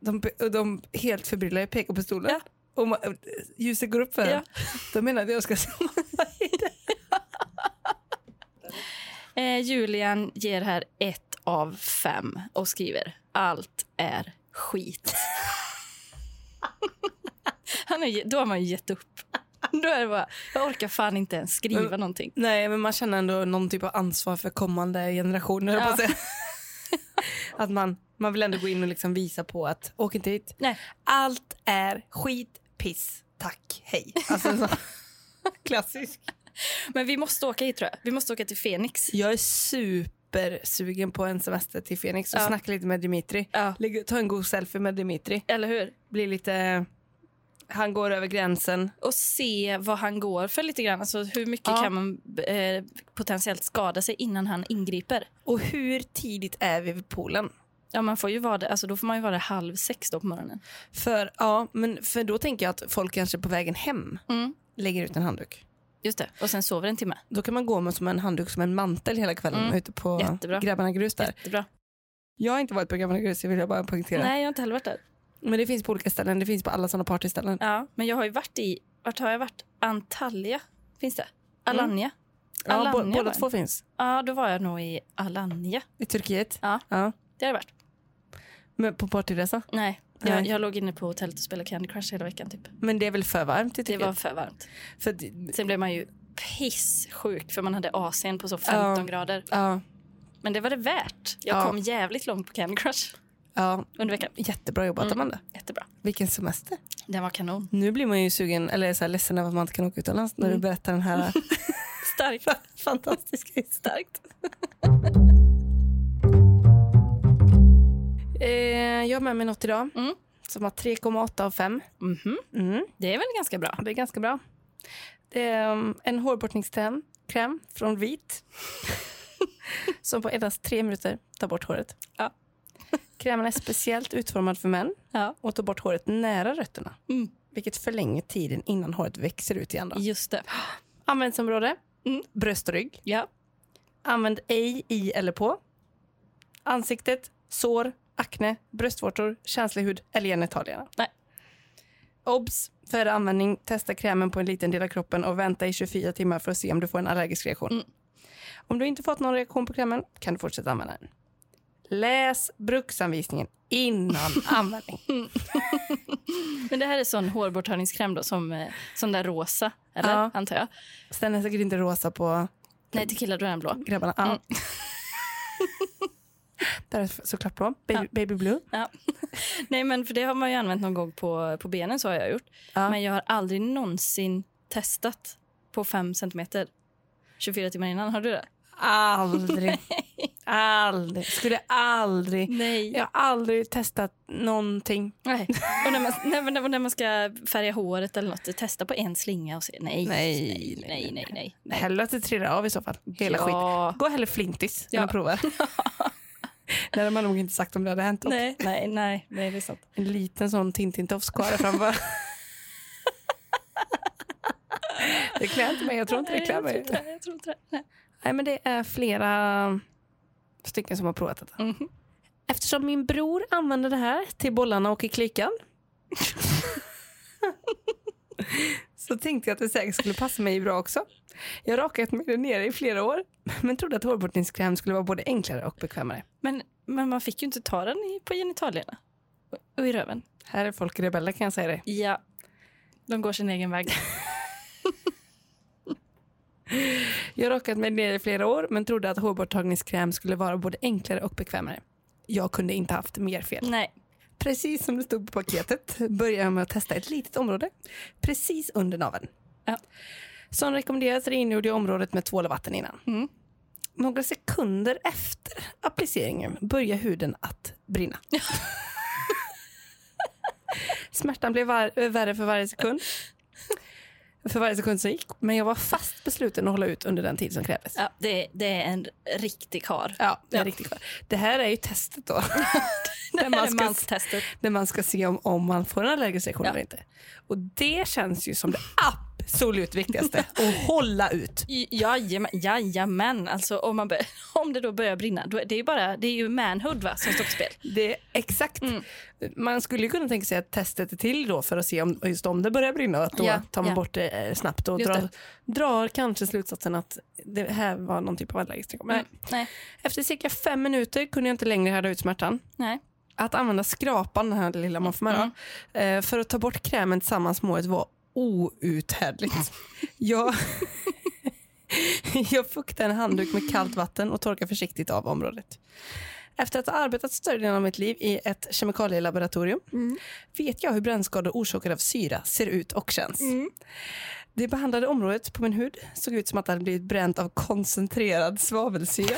de, pe- de helt förbryllade pekar på stolen. Ja. Och ma- ljuset går upp för Ja. en. De menar att jag ska Eh, Julian ger här ett av fem och skriver allt är skit. [LAUGHS] Han är, ju- då har man ju gett upp. Då är det bara, jag orkar fan inte ens skriva Men- någonting. Nej, men man känner ändå någon typ av ansvar för kommande generationer. höll jag på att säga. [LAUGHS] att man, man vill ändå gå in och liksom visa på att åk inte hit. Nej. Allt är skit, piss, tack, hej. Alltså, så, [LAUGHS] klassisk. Men vi måste åka hit tror jag. Vi måste åka till Phoenix. Jag är supersugen på en semester till Phoenix och Ja. snacka lite med Dimitri. Ja. Lägg- Ta en god selfie med Dimitri. Eller hur? Bli lite... Han går över gränsen. Och se vad han går för lite grann. Alltså hur mycket Ja. kan man eh, potentiellt skada sig innan han ingriper? Och hur tidigt är vi vid poolen? Ja, man får ju vara där, alltså då får man ju vara där halv sex då på morgonen. För, ja, men för då tänker jag att folk kanske på vägen hem Mm. lägger ut en handduk. Just det. Och sen sover en timme. Då kan man gå med som en handduk som en mantel hela kvällen Mm. ute på Jättebra. Grabbarna Grus där. Jättebra. Jag har inte varit på Grabbarna Grus, det vill jag bara poängtera. Nej, jag har inte heller varit där. Men det finns på olika ställen, det finns på alla sådana partyställen. Ja, men jag har ju varit i... Vart har jag varit? Antalya, finns det? Alanya? Ja, Alanya bo- var båda en. två finns. Ja, då var jag nog i Alanya. I Turkiet. Ja. ja. Det har jag varit. Men på partyresa. Nej, jag, Nej. jag låg inne på hotellet och spelade Candy Crush hela veckan. Typ. Men det är väl för varmt i Det Turkiet? var för varmt. För att- Sen blev man ju pissjuk för man hade AC'n på så 15 Ja. grader. ja, Men det var det värt. Jag Ja. kom jävligt långt på Candy Crush ja, under veckan. jättebra jobbat Mm. Amanda. Jättebra. Vilken semester. Den var kanon. Nu blir man ju sugen, eller så här, ledsen över att man inte kan åka utomlands när Mm. du berättar [LAUGHS] den här Starkt. [LAUGHS] fantastiska historien. Starkt. Eh, jag har med mig något idag Mm. som har 3,8 av 5. Mhm. Mm. Det är väl ganska bra. Det är ganska bra. Det är um, en hårborttningskräm kräm från [LAUGHS] Vit som på endast tre minuter tar bort håret. Ja. Krämen är speciellt utformad för män Ja. och tar bort håret nära rötterna Mm. vilket förlänger tiden innan håret växer ut igen. Då. Just det. Användningsområde Mm. bröst och rygg. Ja. Använd ej i eller på. Ansiktet, sår, akne, bröstvårtor, känslig hud eller genitalierna. Nej. Obs! Före användning, testa krämen på en liten del av kroppen och vänta i 24 timmar för att se om du får en allergisk reaktion. Mm. Om du inte fått någon reaktion på krämen kan du fortsätta använda den. Läs bruksanvisningen [LAUGHS] innan användning. Men det här är sån hårborttagningskräm då, som, eh, som där rosa, eller? Ja. Antar jag. Så den är säkert inte rosa på Nej, till killar då är den blå. grabbarna. Ja. Mm. Där är såklart på. Baby, baby blue. [LAUGHS] Nej, men för det har man ju använt någon gång på, på benen, så har jag gjort. Ja. Men jag har aldrig någonsin testat på 5 centimeter 24 timmar innan. Har du det? [LAUGHS] Aldrig. aldrig. Skulle aldrig. Nej. Jag har aldrig testat någonting. nej. Och när man, när, man- när, man- när man ska färga håret eller något, testa på en slinga och se nej, Nej, nej, nej, nej, nej. nej. Hellre att det trillar av i så fall. Hela skiten. ja. Gå hellre flintis när Ja. [LAUGHS] man provar. Det hade man nog inte sagt om det hade hänt. Nej, nej, nej, nej, det är sant. En liten sån Tintin-tofs kvar där [LAUGHS] framför. det klär inte mig. Jag tror inte det Nej, klär jag tror mig. inte det. Jag tror inte det. Nej. Nej, men det är flera stycken som har provat detta. Mhm. Eftersom min bror använder det här till bollarna och i klykan så tänkte jag att det säkert skulle passa mig bra också. Jag har rakat mig där nere i flera år men trodde att hårborttningskräm skulle vara både enklare och bekvämare. Men, men man fick ju inte ta den i, på genitalierna och, och i röven. Här är folk rebeller kan jag säga dig. Ja. De går sin egen väg. Jag har rakat mig ner i flera år men trodde att hårborttagningskräm skulle vara både enklare och bekvämare. Jag kunde inte haft mer fel. [LAUGHS] Nej. Precis som det stod på paketet börjar jag med att testa ett litet område precis under naveln. Ja. Som rekommenderas rengjorde jag området med tvål och vatten innan. Mm. Några sekunder efter appliceringen börjar huden att brinna. [LAUGHS] Smärtan blev var- värre för varje sekund. För varje sekund som gick. Men jag var fast besluten att hålla ut under den tid som krävdes. Ja, det, det är en riktig kar. Ja, det, är Ja. Riktigt. skönt. det här är ju testet då. [LAUGHS] Det Där här man är ska- manstestet. där man ska se om, om man får en allergisk reaktion Ja. eller inte. Och det känns ju som det [LAUGHS] absolut viktigaste. Och hålla ut. J- Jajamän, jajamän. Alltså, om, man bör, [LAUGHS] om det då börjar brinna, då är det, ju bara, det är ju manhood va, som står på spel. Det är exakt. Mm. Man skulle ju kunna tänka sig att testet är till då för att se om, just om det börjar brinna. och Att då Ja, tar man ja. bort det eh, snabbt och Just drar, det. drar kanske slutsatsen att det här var någon typ av allergisk reaktion. Men Nej. Efter cirka fem minuter kunde jag inte längre härda ut smärtan. Nej. Att använda skrapan, den här lilla man får med, då, eh, för att ta bort krämen tillsammans med håret var outhärdligt. jag, jag fuktade en handduk med kallt vatten och torkade försiktigt av området. Efter att ha arbetat större delen av mitt liv i ett kemikalielaboratorium vet jag hur brännskador orsakade av syra ser ut och känns. Det behandlade området på min hud såg ut som att det hade blivit bränt av koncentrerad svavelsyra.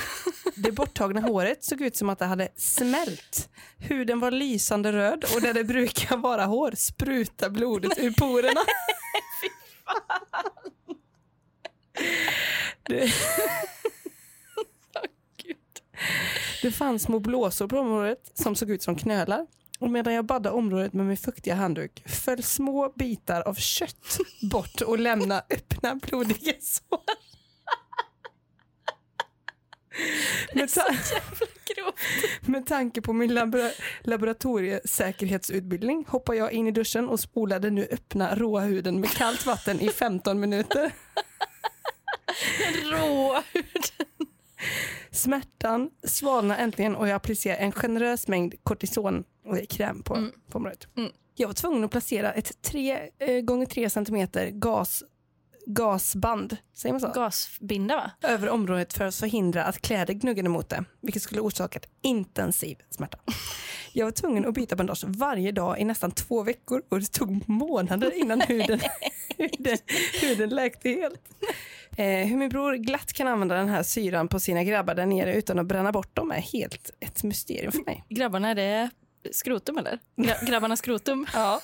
Det borttagna håret såg ut som att det hade smält. Huden var lysande röd och där det brukar vara hår spruta blodet ur porerna. Det, det fanns små blåsor på området som såg ut som knölar. Och medan jag badade området med min fuktiga handduk föll små bitar av kött bort och lämnade öppna blodiga sår. Med, ta- Grovt. med tanke på min labora- laboratoriesäkerhetsutbildning hoppade jag in i duschen och spolade nu öppna råa huden med kallt vatten i 15 minuter. Råhud. Smärtan svalnade äntligen och jag applicerade en generös mängd kortisonkräm på, på området. Mm. Jag var tvungen att placera ett 3 gånger 3 centimeter gas, gasband säger man så? Gasbinda va? över området för att förhindra att kläder gnuggade mot det, vilket skulle orsakat intensiv smärta. Jag var tvungen att byta bandage varje dag i nästan två veckor och det tog månader innan [LAUGHS] huden, huden, huden läkte helt. Eh, hur min bror glatt kan använda den här syran på sina grabbar där nere utan att bränna bort dem är helt ett mysterium för mig. Grabbarna, är det skrotum eller? [LAUGHS] Gra- grabbarnas skrotum? Ja,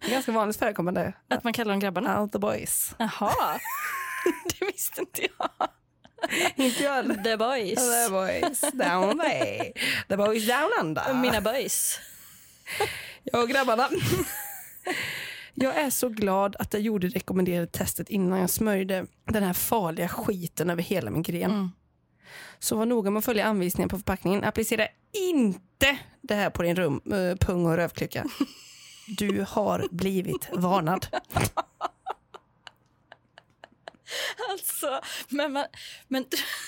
det är ganska vanligt förekommande. Att man kallar dem grabbarna? All the boys. Jaha. [LAUGHS] Det visste inte jag. Inte jag heller. The boys. [LAUGHS] The boys down there. The boys down under. Mina boys. Jag och grabbarna. [LAUGHS] Jag är så glad att jag gjorde det rekommenderade testet innan jag smörjde den här farliga skiten över hela min gren. Mm. Så var noga med att följa anvisningen på förpackningen. Applicera inte det här på din rum, eh, pung och [LAUGHS] rövklyka. Du har blivit varnad. [LAUGHS] Alltså, men, man, men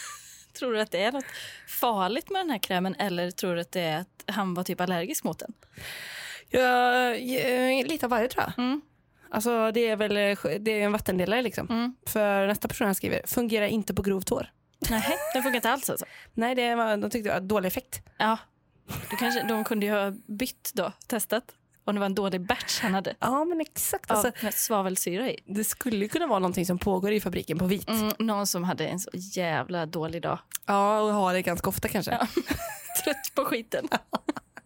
[LAUGHS] tror du att det är något farligt med den här krämen eller tror du att det är att han var typ allergisk mot den? Jag, eh, lite av varje tror jag. Mm. Alltså, det är väl eh, det är en vattendelare liksom. Mm. För nästa person här skriver, fungerar inte på grovt hår. Nej, den funkar inte alls alltså. Nej, det var, de tyckte det var dålig effekt. Ja, då kanske, de kunde ju ha bytt då, testat. Om det var en dålig batch han hade Ja, men exakt. av Alltså, med svavelsyra i. Det skulle ju kunna vara någonting som pågår i fabriken på vit. Mm, någon som hade en så jävla dålig dag. [LAUGHS] Ja, och har det ganska ofta kanske. Ja. Trött på skiten.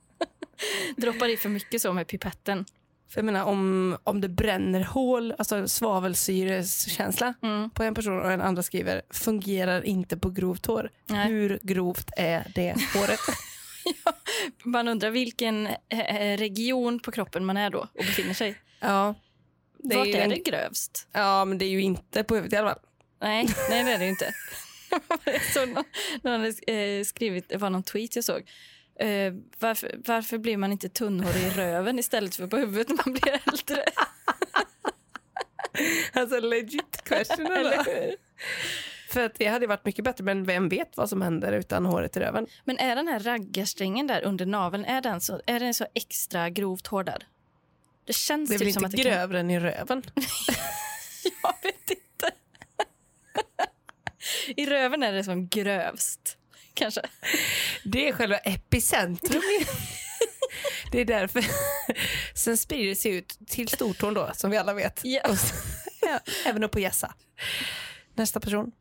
[LAUGHS] Droppar i för mycket så med pipetten. För jag menar om, om det bränner hål, alltså svavelsyreskänsla Mm. på en person och en andra skriver fungerar inte på grovt hår. Nej. Hur grovt är det [LAUGHS] håret? Man undrar vilken eh, region på kroppen man är då och befinner sig. ja. Det Vart ju är en- det grövst? Ja, men det är ju inte på huvudet i alla fall. Nej, nej det är det ju [LAUGHS] inte. så någon, någon hade eh, skrivit, det var någon tweet jag såg. Eh, varför, varför blir man inte tunnhårig i röven istället för på huvudet när man blir äldre? Alltså legit [LAUGHS] question Eller eller? hur? För att det hade ju varit mycket bättre, men vem vet vad som händer utan håret i röven? Men är den här raggarsträngen där under naveln, är den så, är den så extra grovt hårdad? Det känns Det är väl typ som inte att det kan... grövre än i röven? [LAUGHS] Jag vet inte. I röven är det som grövst, kanske. Det är själva epicentrum. det är därför. [LAUGHS] Sen sprider det sig ut till Stortån då, som vi alla vet. Ja. Och sen, ja, även upp på Gässa. Nästa person.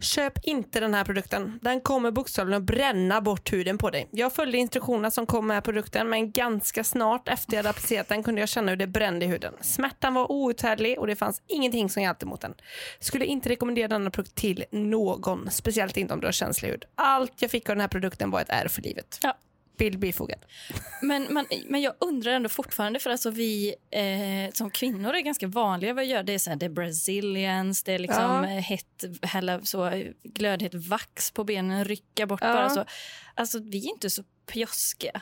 Köp inte den här produkten. Den kommer bokstavligen att bränna bort huden på dig. Jag följde instruktionerna som kom med produkten men ganska snart efter jag hade applicerat den kunde jag känna hur det brände i huden. Smärtan var outhärdlig och det fanns ingenting som hjälpte mot den. Skulle inte rekommendera denna produkt till någon, speciellt inte om du har känslig hud. Allt jag fick av den här produkten var ett ärr för livet. Ja. Bild bifogad. Men, man, men jag undrar ändå fortfarande, för alltså vi eh, som kvinnor är ganska vanliga vad vi gör. Det är, så här, det är brazilians, det är liksom Ja. eh, hett, hälla så glödhett vax på benen, rycka bort Ja. bara så. Alltså vi är inte så pjoskiga.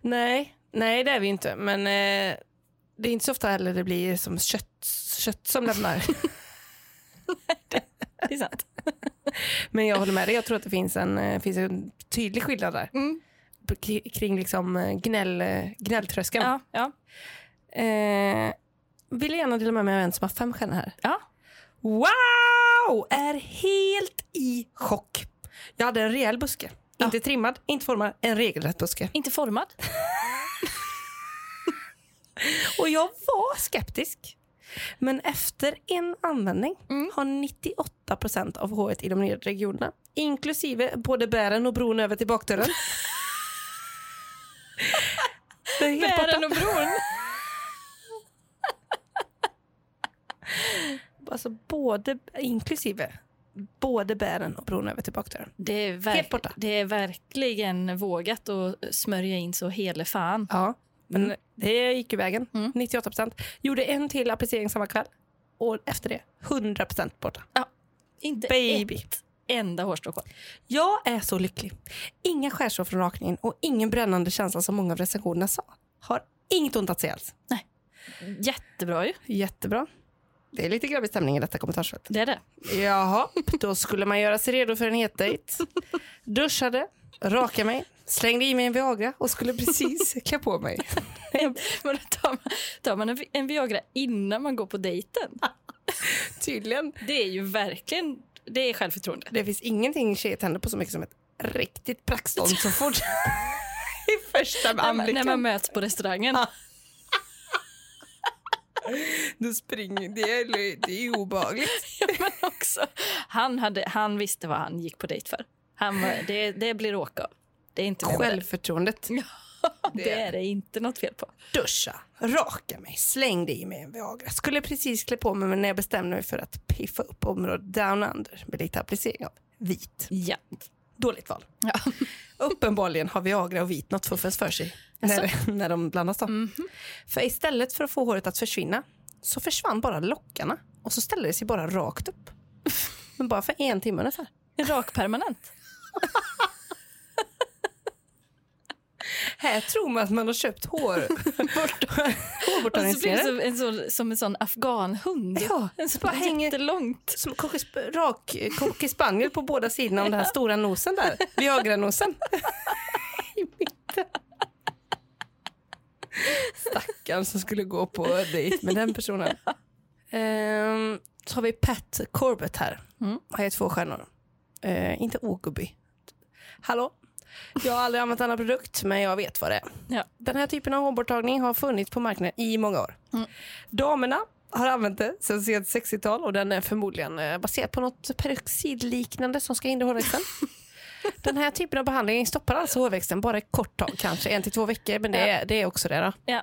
Nej, nej det är vi inte. Men eh, det är inte så ofta heller det blir som kött, kött som [LAUGHS] lämnar. Det är sant. Men jag håller med dig, jag tror att det finns en, eh, finns en tydlig skillnad där. Mm. På- k- Kring liksom eh, gnäll, eh, gnälltröskeln. Ja, ja. Eh, vill gärna dela med mig av en som har fem stjärnor här. Ja. Wow! Är helt i chock. Jag hade en rejäl buske. Ja. Inte trimmad, inte formad, en regelrätt buske. Inte formad. Och jag var skeptisk. Men efter en användning Mm. har 98 av håret i de nya regionerna, inklusive både bären och bron över [LAUGHS] till bakdörren. Det är helt borta. Bären och bron. [LAUGHS] Alltså både, inklusive både bären och bron över till bakdörren. Det är, Helt verk- borta. det är verkligen vågat att smörja in så hele fan. Ja, men det gick ju vägen. Mm. 98 Gjorde en till applicering samma kväll. Och efter det, 100 borta. Inte Baby. ett enda hårstrå kvar. Jag är så lycklig. Inga skärsår från rakningen och ingen brännande känsla som många av recensionerna sa. Har inget ont att se alls. Jättebra ju. Jättebra. Det är lite grabbig stämning i detta kommentarsfält. Det är det. Jaha, då skulle man göra sig redo för en het dejt. Duschade, rakade mig, slängde i mig en Viagra och skulle [LAUGHS] precis klä på mig. [LAUGHS] Men då tar man, tar man en, Vi- en Viagra innan man går på dejten? Tydligen. Det är ju verkligen det är självförtroende. Det finns ingenting tjejer tänder på så mycket som ett riktigt braxton så fort [LAUGHS] i första När man, när man anblicken. möts på restaurangen. [LAUGHS] Du springer, det är, det är obehagligt. Men också, han, hade, han visste vad han gick på dejt för. Han var, det, det blir åka av. Det är inte med med Självförtroendet. det. det är det inte något fel på. Duscha, raka mig, slängde i mig en Viagra. Skulle precis klä på mig men när jag bestämde mig för att piffa upp området down under med lite applicering av vit. Ja. Dåligt val. Ja. [LAUGHS] Uppenbarligen har Viagra och vit något fuffens för sig [LAUGHS] när, när de blandas. Då. Mhm. För istället för att få håret att försvinna så försvann bara lockarna och så ställde det sig bara rakt upp. Men bara för en timme ungefär. Rak permanent. Här tror man att man har köpt [LAUGHS] hår. [LAUGHS] [LAUGHS] Och så blir det Hårbortagningsmedel. som en, så, som en sån afghanhund. Ja, en sån bara bara hänger- jättelångt. Som cocker sp- rak cocker spaniel på båda sidorna om den här stora nosen där. Viagra-nosen. [LAUGHS] I mitten. Stackarn som skulle gå på dejt med den [LAUGHS] personen. Ehm, så har vi Pat Corbett här. Mm. Han är två stjärnor. Eh, inte ogubbig. Hallå? Jag har aldrig använt denna produkt, men jag vet vad det är. Ja. Den här typen av hårborttagning har funnits på marknaden i många år. Mm. Damerna har använt det sedan sent 60-tal och den är förmodligen eh, baserad på något peroxidliknande som ska [LAUGHS] hindra hårväxten. den här typen av behandling stoppar alltså hårväxten bara ett kort tag, kanske en till två veckor, men det, är, det är också det. Då. Ja.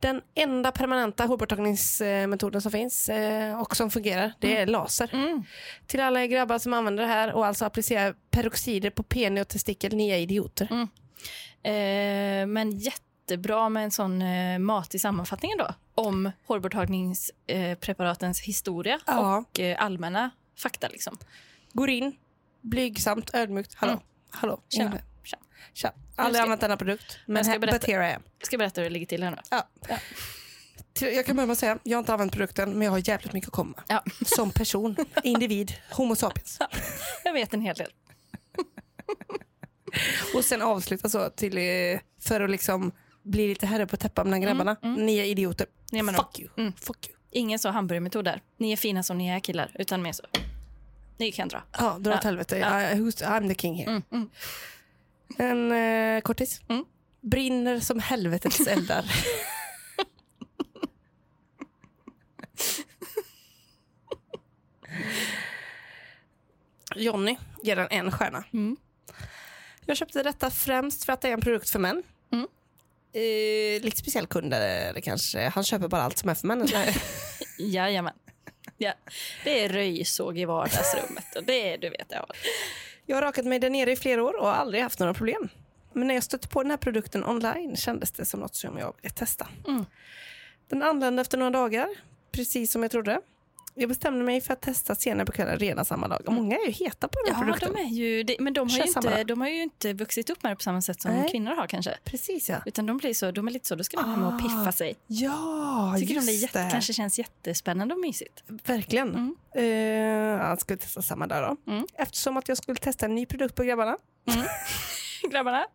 Den enda permanenta hårborttagningsmetoden som finns eh, och som fungerar, det är laser. Mm. Till alla er grabbar som använder det här och alltså applicerar peroxider på pene och testikel, ni är idioter. Eh, men jättebra med en sån eh, mat i sammanfattningen då. Om hårborttagningspreparatens eh, preparatens historia Ja. och eh, allmänna fakta. Liksom. Går in, blygsamt, ödmjukt. Hallå, Mm. hallå. Tjena, Inne. tjena. Tja. Jag Aldrig ska- använt denna produkt, men jag ska här, berätta. but here I am. Jag ska berätta hur det ligger till här nu. Ja. Ja. Till- Jag kan börja med att säga, jag har inte använt produkten, men jag har jävligt mycket att komma. Ja. [LAUGHS] Som person, individ, homo sapiens. Jag vet en hel del. Och sen avsluta så till, eh, för att liksom bli lite herre på täppan bland grabbarna. Ni är idioter. Mm, Ni är med Fuck you. Mm. Fuck you. Ingen så hamburgermetod där. Ni är fina som ni är killar, utan mer så. Ni kan dra. Ja, dra åt helvete. I, who's, I'm the king here. Mm, mm. En eh, kortis. Mm. Brinner [LAUGHS] som helvetets eldar. Jonny ger den en stjärna. Mm. Jag köpte detta främst för att det är en produkt för män. Mm. Eh, lite speciell kund är det kanske. Han köper bara allt som är för män. [LAUGHS] Jajamän. Ja. Det är röjsåg i vardagsrummet. Och det är, du vet, ja. jag har rakat mig där nere i flera år och har aldrig haft några problem. Men när jag stötte på den här produkten online kändes det som något som jag ville testa. Mm. Den anlände efter några dagar, precis som jag trodde. Jag bestämde mig för att testa senare på kvällen redan samma dag. Många är ju heta på den här Mm. Ja, produkten. de är ju, det- men de har ju, Känns samma inte, där. de har ju inte vuxit upp med det på samma sätt som Nej. kvinnor har kanske. Precis ja. Utan de blir så, de är lite så, då ska de komma och Ah, piffa sig. Ja, Tycker de just det, är jätte, kanske känns jättespännande och mysigt. Verkligen. Mm. Eh, ja, ska vi testa samma dag då? Mm. Eftersom att jag skulle testa en ny produkt på grabbarna [LAUGHS] Grabbarna?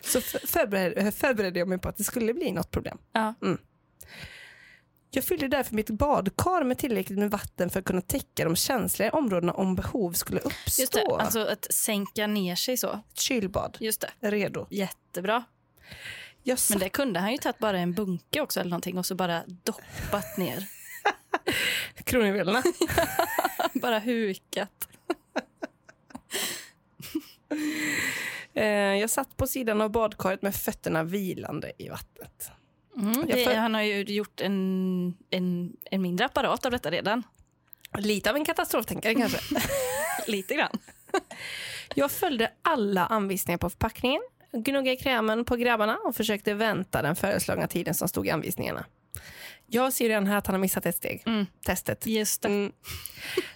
så f- förbered- eh, förberedde jag mig på att det skulle bli något problem. Ja. Jag fyllde därför mitt badkar med tillräckligt med vatten för att kunna täcka de känsliga områdena om behov skulle uppstå. Just det, alltså att sänka ner sig så. Ett kylbad. Just det. Redo. Jättebra. Jag Men satt, det kunde han ju tagit bara en bunke också eller någonting och så bara doppat ner. [LAUGHS] [LAUGHS] kronjuvelerna. bara hukat. Eh, jag satt på sidan av badkaret med fötterna vilande i vattnet. Mm, det, för- Han har ju gjort en, en, en mindre apparat av detta redan. [LAUGHS] Lite av en katastroftänkare kanske. Lite grann. Jag följde alla anvisningar på förpackningen, gnuggade krämen på grabbarna och försökte vänta den föreslagna tiden som stod i anvisningarna. Jag ser redan här att han har missat ett steg. Mm. Testet. Just det. Mm.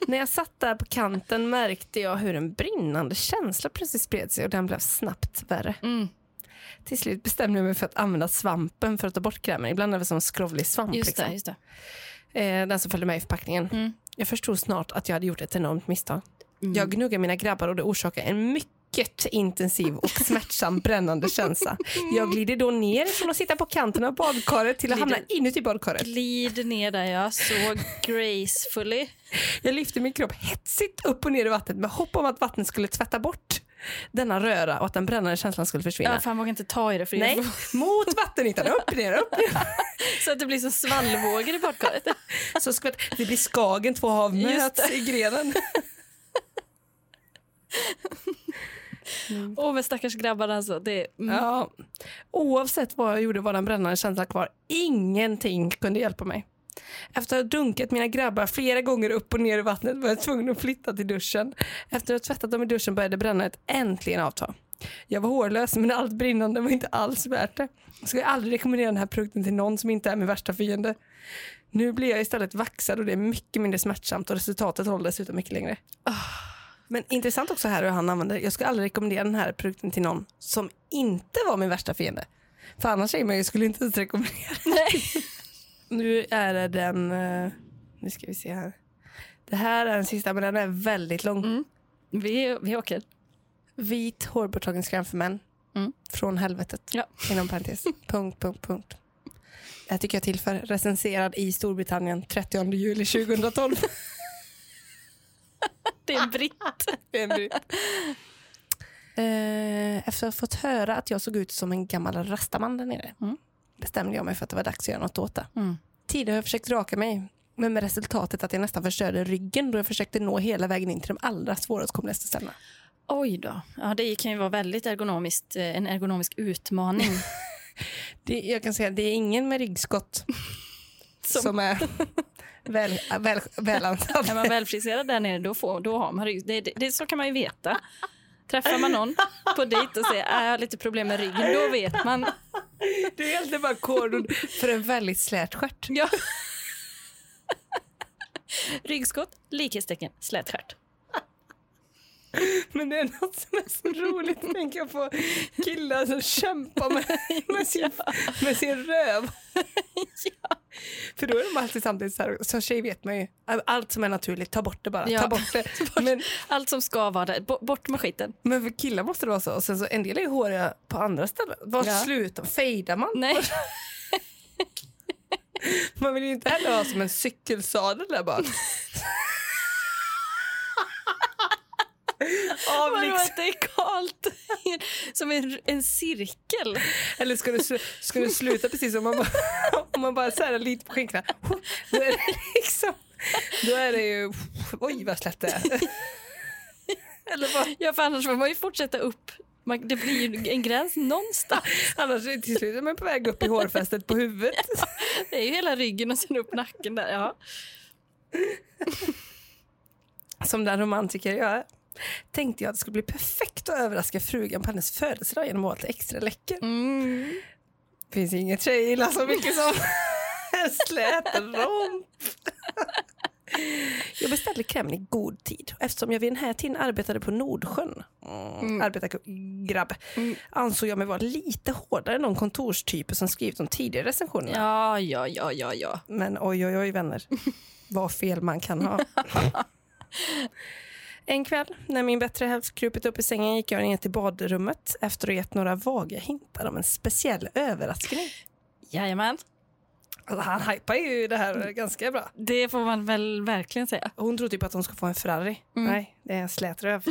När jag satt där på kanten märkte jag hur en brinnande känsla plötsligt spred sig och den blev snabbt värre. Mm. Till slut bestämde jag mig för att använda svampen för att ta bort krämen. Ibland är det som skrovlig svamp. Just liksom. det, just det. Eh, den som följde med i förpackningen. Mm. Jag förstod snart att jag hade gjort ett enormt misstag. Mm. Jag gnuggade mina grabbar och det orsakade en mycket intensiv [LAUGHS] och smärtsam brännande känsla. Jag glider då ner från att sitta på kanten av badkaret till att Glider- hamna inuti badkaret. Glid ner där, ja. [LAUGHS] Så gracefully. Jag lyfte min kropp hetsigt upp och ner i vattnet med hopp om att vattnet skulle tvätta bort denna röra och att den brännande känslan skulle försvinna. Ja, för han vågar inte ta i det. För det är Nej, för- mot vattenytan. Upp, ner, upp. [LAUGHS] så att det blir som svallvågor i badkaret. Så skvätt. Det blir Skagen, två hav möts i grenen. Åh, men stackars grabbar alltså. Det, mm. Ja. Oavsett vad jag gjorde var den brännande känslan kvar. Ingenting kunde hjälpa mig. Efter att ha dunkat mina grabbar flera gånger upp och ner i vattnet var jag tvungen att flytta till duschen. Efter att ha tvättat dem i duschen började brännandet äntligen avta. Jag var hårlös men allt brinnande var inte alls värt det. Jag skulle aldrig rekommendera den här produkten till någon som inte är min värsta fiende. Nu blir jag istället vaxad och det är mycket mindre smärtsamt och resultatet håller dessutom mycket längre. Men intressant också här hur han använder. Jag skulle aldrig rekommendera den här produkten till någon som inte var min värsta fiende. För annars säger man ju, jag skulle inte ens rekommendera. Nej. [LAUGHS] Nu är det den, eh, nu ska vi se här. Det här är den sista men den är väldigt lång. Mm. Vi, vi åker. Vit hårborttagningskräm för män. Mm. Från helvetet. Ja. [LAUGHS] Inom parentes. punkt, punkt, punkt. Det här tycker jag tillför. Recenserad i Storbritannien 30 juli 2012. Det är en britt. Det är en bryt. [LAUGHS] Eh, Efter att ha fått höra att jag såg ut som en gammal rastaman där nere Mm. bestämde jag mig för att det var dags att göra något åt det. Mm. Tidigare har jag försökt raka mig men med resultatet att jag nästan förstörde ryggen då jag försökte nå hela vägen in till de allra svåråtkomligaste ställena. [LAUGHS] Oj då. Ja, det kan ju vara väldigt ergonomiskt. eh, En ergonomisk [LAUGHS] utmaning. Det, jag kan säga att det är ingen med ryggskott [LAUGHS] som, är väl, [LAUGHS] väl, välansad. Är man välfriserad där nere, då, får, då har man rygg. Det, det, det, så kan man ju veta. Träffar man någon på dejt och säger "Ah, jag har lite problem med ryggen, då vet man. Det är egentligen bara kodord [LAUGHS] för en väldigt slät stjärt. Ja. [LAUGHS] Ryggskott, likhetstecken, [LAUGHS] slätstjärt. Men det är något som är så roligt, tänker jag på killar som kämpar med, [LAUGHS] med, sin, med sin röv. För då är de alltid samtidigt så här, som tjej vet man ju, allt som är naturligt, ta bort det bara. Ja. Ta bort det. Men, Allt som ska vara där, bo- bort med skiten. men för killar måste det vara så. Och sen så, en del är ju håriga på andra ställen. Vad Ja. slutar, fejdar man? Nej, Man vill ju inte heller ha som en cykelsadel där bak. Av vadå liksom, att det är kalt? [LAUGHS] Som en, en cirkel. eller ska du, slu- ska du sluta precis om man bara, om man bara särar lite på skinkorna? Då är det liksom, då är det ju, oj vad slätt det är. Eller vad? Ja, för annars får man ju fortsätta upp. Man, det blir ju en gräns någonstans. Annars är det till slut är man på väg upp i hårfästet på huvudet. Det är ju hela ryggen och sen upp nacken där. Ja. Som den romantiker jag är. tänkte jag att det skulle bli perfekt att överraska frugan på hennes födelsedag genom att vara lite extra läcker. Mm. finns inget tjej gillar så mycket som [LAUGHS] en slät romp. Jag beställde krämen i god tid eftersom jag vid den här tiden arbetade på Nordsjön, mm. arbetargrabb, Mm. ansåg jag mig vara lite hårdare än de kontorstyper som skrivit de tidigare recensionerna. Ja, ja, ja, ja, ja. Men oj, oj, oj [LAUGHS] vänner. Vad fel man kan ha. [LAUGHS] En kväll när min bättre hälft krupit upp i sängen gick jag ner till badrummet efter att ha gett några vaga hintar om en speciell överraskning. Jajamän. Alltså, han hypar ju det här Mm. ganska bra. Det får man väl verkligen säga. Hon tror typ att hon ska få en Ferrari. Mm. Nej, det är [LAUGHS] en slätröv.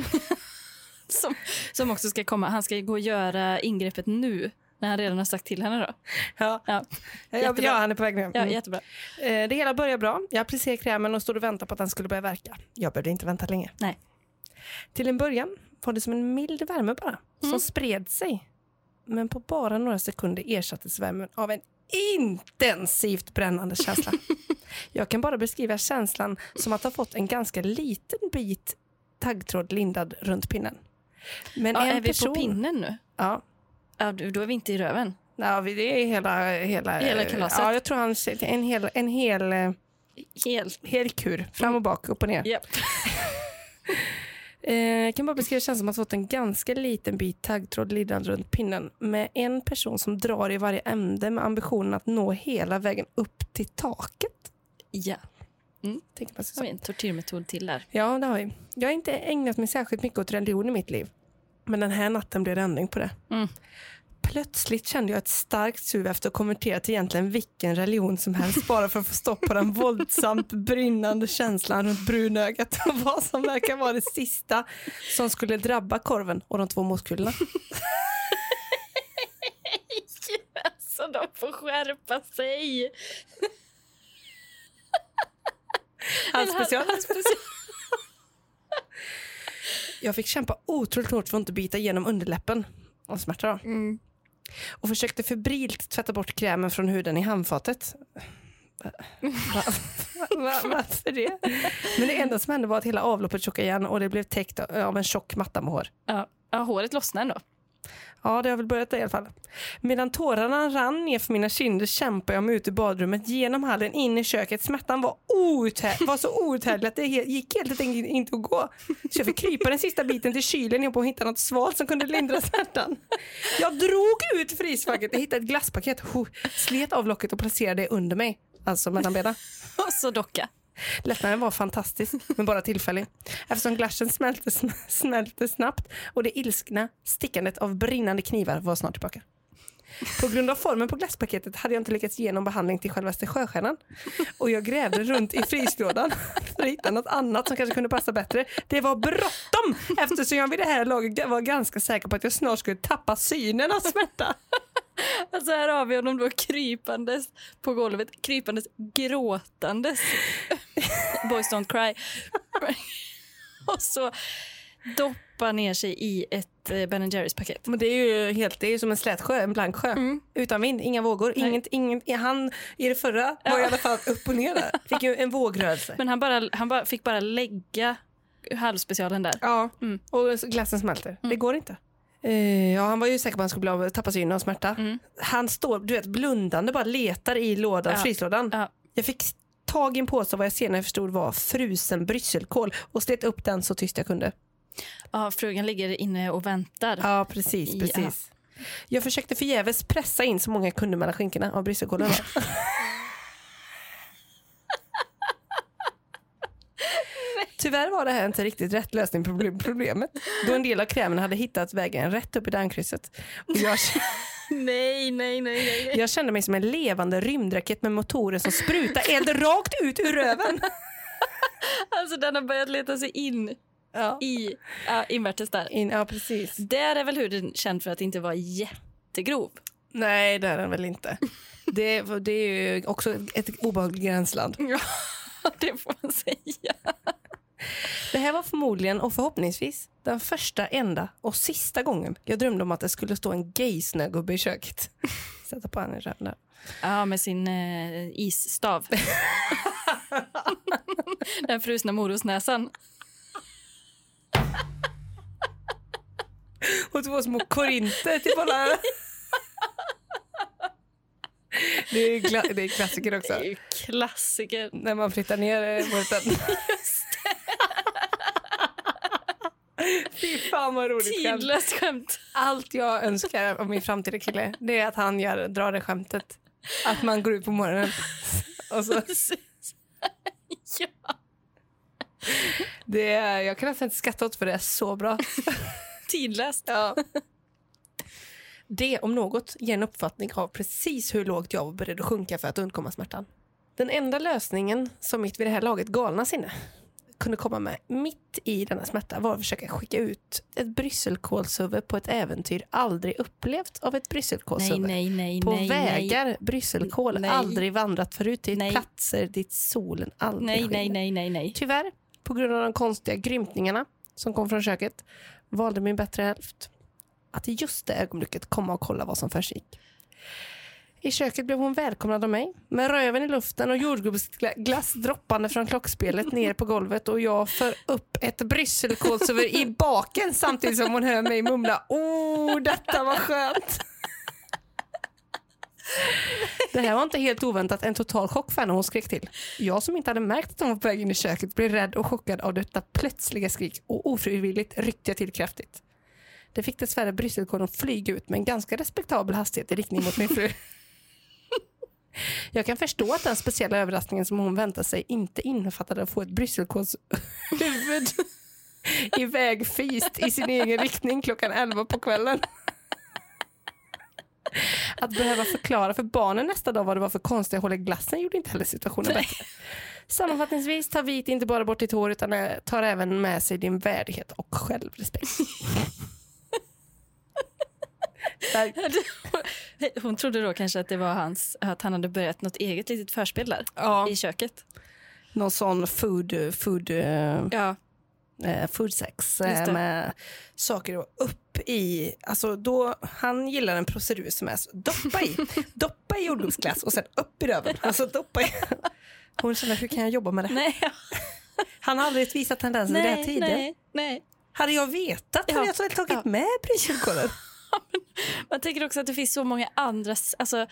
Som, som också ska komma. Han ska ju gå och göra ingreppet nu, när han redan har sagt till henne. Då. Ja, Ja, ja, Jättebra. ja, han är på väg ner. ja Mm. Jättebra. Eh, Det hela börjar bra. Jag applicerar krämen och stod och väntade på att den skulle börja verka. Jag behövde inte vänta länge. Nej. Till en början var det som en mild värme bara, Mm. som spred sig. Men på bara några sekunder ersattes värmen av en intensivt [LAUGHS] brännande känsla. Jag kan bara beskriva känslan som att ha fått en ganska liten bit taggtråd lindad runt pinnen. Men Ja, en är vi person... på pinnen nu? Ja. Ja, då är vi inte i röven. Ja, vi- det är hela... Hela, Hela kalaset. Ja, jag tror han... En hel, en hel, eh, Helt. hel kur. Fram och bak, upp och ner. Japp. Eh, jag kan bara beskriva känslan som att ha fått en ganska liten bit taggtråd liggande runt pinnen med en person som drar i varje ände med ambitionen att nå hela vägen upp till taket. Ja, Tänker man sig så så. har vi en tortyrmetod till där. Ja, det har vi. Jag har inte ägnat mig särskilt mycket åt religion i mitt liv. Men den här natten blev det ändring på det. Mm. Plötsligt kände jag ett starkt sug efter att konvertera till egentligen vilken religion som helst [LAUGHS] bara för att få stopp på den våldsamt brinnande känslan runt brunögat och vad som verkar vara det sista som skulle drabba korven och de två motkulorna. [LAUGHS] Alltså, de får skärpa sig! Hans special. Hans special. [LAUGHS] Jag fick kämpa otroligt hårt för att inte bita igenom underläppen av smärta då, Mm. och försökte febrilt tvätta bort krämen från huden i handfatet. Va- va- va- Varför det? Men det enda som hände var att hela avloppet tjockade igen och det blev täckt av en tjock matta med hår. Ja. ja, håret lossnar ändå. [LAUGHS] Ja, det har väl börjat där i alla fall. Medan tårarna rann ner för mina kinder kämpade jag mig ut ur badrummet, genom hallen, in i köket. Smärtan var, outhär- var så outhärdlig att det he- gick helt enkelt inte att gå. Så jag fick krypa den sista biten till kylen och hitta något svalt som kunde lindra smärtan. Jag drog ut frysfacket och hittade ett glasspaket, ho, slet av locket och placerade det under mig. Alltså mellan benen. Och så docka. Lättnaden var fantastisk, men bara tillfällig. Eftersom glassen smälte, sn- smälte snabbt och det ilskna stickandet av brinnande knivar var snart tillbaka. På grund av formen på glasspaketet hade jag inte lyckats ge någon behandling till självaste sjöstjärnan. Och jag grävde runt i fryslådan för att hitta något annat som kanske kunde passa bättre. Det var bråttom eftersom jag vid det här laget var ganska säker på att jag snart skulle tappa synen av smärta. Alltså här har vi honom då krypandes på golvet, krypandes gråtandes. [LAUGHS] Boys don't cry. [LAUGHS] och så doppa ner sig i ett eh, Ben Jerrys paket. Men det är ju helt, det är ju som en slät sjö, en blank sjö. Utan vind, inga vågor. Mm. Nej. Inget, inget, i han i det förra var i alla fall upp [LAUGHS] och ner där. Fick ju en vågrörelse. Men han, bara, han bara, fick bara lägga halvspecialen där. Ja, och så glassen smälter. Mm. Det går inte. Eh, ja, han var ju säker på att han skulle bli av, tappa synen av smärta. Han står, du vet, blundande bara letar i lådan, Mm. Ja. fryslådan. Ja. Jag fick tag i en påse av vad jag senare förstod var frusen brysselkål och slet upp den så tyst jag kunde. Ja, frugan ligger inne och väntar. Ja, precis. Ja. precis. Jag försökte förgäves pressa in så många jag kunde mellan skinkorna av [LAUGHS] brysselkålen. då. Tyvärr var det här inte riktigt rätt lösning på proble- problemet då en del av krämen hade hittat vägen rätt upp i dammkrysset. Och Jag, [LAUGHS] [LAUGHS] Nej, nej, nej, nej. nej. jag kände mig som en levande rymdraket med motorer som sprutar eld rakt ut ur röven. Alltså den har börjat leta sig in [LAUGHS] Ja, i ja, invärtes där. in, ja precis. Där är väl huden känd för att inte vara jättegrov. Nej, det är den väl inte. [LAUGHS] Det, det är ju också ett obehagligt gränsland. Ja, [LAUGHS] det får man säga. Det här var förmodligen och förhoppningsvis den första, enda och sista gången jag drömde om att det skulle stå en gay-snögubbe i [LAUGHS] köket. Sätta på henne i röven där. Ja, med sin eh, [LAUGHS] isstav. Den frusna morotsnäsan. Och två små korinter till bollarna. [LAUGHS] Det är, kla- det är klassiker också. Det är ju klassiker. När man frittar ner eh, [LAUGHS] vårtan. Fy fan vad roligt skämt. Tidlöst skämt. Allt jag önskar av min framtida kille det är att han gör, drar det skämtet. Att man går ut på [LAUGHS] morgonen. Och så, Precis. [LAUGHS] ja, det är, jag kan nästan inte skratta åt för det är så bra. tidlöst. Ja. Det om något ger en uppfattning av precis hur lågt jag var beredd att sjunka för att undkomma smärtan. Den enda lösningen som mitt vid det här laget galna sinne kunde komma med mitt i denna smärta var att försöka skicka ut ett brysselkålshuvud på ett äventyr aldrig upplevt av ett Nej, brysselkålshuvud. nej, nej. På nej, vägar brysselkål Nej. aldrig vandrat förut till Nej. platser dit solen aldrig Nej, nej, skiner. nej, nej, nej. Tyvärr, på grund av de konstiga grymtningarna som kom från köket valde min bättre hälft att i just det ögonblicket komma och kolla vad som försiggick. I köket blev hon välkomnad av mig med röven i luften och jordgubbsglass droppande från klockspelet ner på golvet och jag för upp ett brysselkålsöver i baken samtidigt som hon hör mig mumla Åh, detta var skönt! Det här var inte helt oväntat en total chock för henne och hon skrek till. Jag som inte hade märkt att hon var på väg in i köket blev rädd och chockad av detta plötsliga skrik och ofrivilligt ryckte jag till kraftigt. Det fick dessvärre brysselkålen att flyga ut med en ganska respektabel hastighet i riktning mot min fru. Jag kan förstå att den speciella överraskningen som hon väntade sig inte innefattade att få ett brysselkålshuvud iväg fist i sin egen riktning klockan 11 på kvällen. Att behöva förklara för barnen nästa dag vad det var för konstiga hål i glassen gjorde inte heller situationen bättre. Sammanfattningsvis tar vit inte bara bort ditt hår utan eh, tar även med sig din värdighet och självrespekt. [LAUGHS] Starkt. Hon trodde då kanske att det var hans, att han hade börjat något eget litet förspel där Ja, i köket. någon sån food, food, eh, Ja, eh, food sex Just eh, det. med saker och upp i, alltså då, han gillar en procedur som är så, doppa [LAUGHS] i, doppa i jordgubbsglass och sen upp i röven. Alltså doppa i. Hon känner, hur kan jag jobba med det här? nej, ja, Han har aldrig visat tendenser vid den här nej, tiden. nej, nej. Hade jag vetat Ja. hade jag tagit Ja. med [LAUGHS] brysselkålen. Man tänker också att det finns så många andra, s- alltså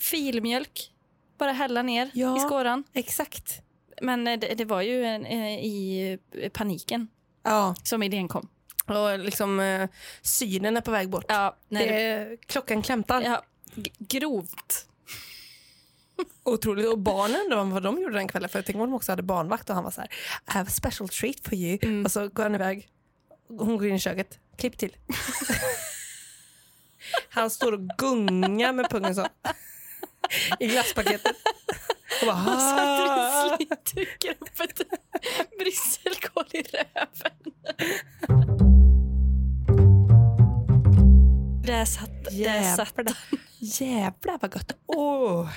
filmjölk, bara hälla ner Ja. i skåran. Exakt. Men eh, det, det var ju en, eh, i eh, paniken Ja, som idén kom. och liksom eh, synen är på väg bort. Ja, när det, det, klockan klämtar. ja g- grovt. Otroligt. Och barnen då, vad de gjorde den kvällen. För jag tänker om de också hade barnvakt och han var så här, I have a special treat for you. Och så går han iväg. Hon går in i köket. Klipp [LAUGHS] till. han står och gungar med pungen [LAUGHS] så. I glasspaketet. Och bara, Och så [LAUGHS] "Ah." att det dyker upp ett [LAUGHS] brysselkål i röven. [LAUGHS] Där satt, där satt Jävlar. Jävlar vad gott. Åh.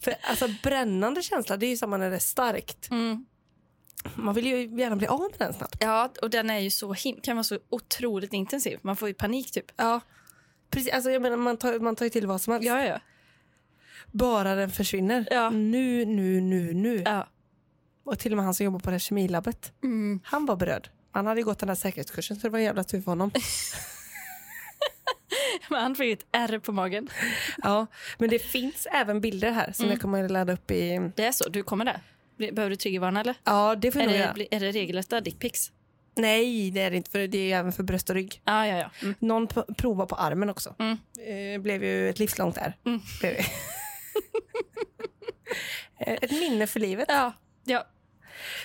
För alltså brännande känsla, det är ju samma när det är starkt. Mm. Man vill ju gärna bli av med den snabbt. Ja, och den är ju så him- kan vara så otroligt intensiv. Man får ju panik typ. Ja. Precis, alltså jag menar man tar, man tar ju till vad som helst. Ja, ja. Bara den försvinner. Ja. Nu, nu, nu, nu. ja. Och till och med han som jobbar på det här kemilabbet, Mm. han var berörd. Han hade ju gått den här säkerhetskursen så det var en jävla tur [LAUGHS] för honom. Men han får ju ett R på magen. ja. Men det finns även bilder här som Mm. jag kommer att ladda upp i... Det är så, du kommer där. Behöver du triggervarna eller? Ja, det får Är jag nog det, göra. bli- är det regelrätta dickpics? Nej, det är det inte. För det är ju även för bröst och rygg. Ja, ja, ja. Mm. Någon p- provar på armen också. Mm. Eh, blev ju ett livslångt där. Mm. Blev det. [LAUGHS] Eh, ett minne för livet. Ja, ja.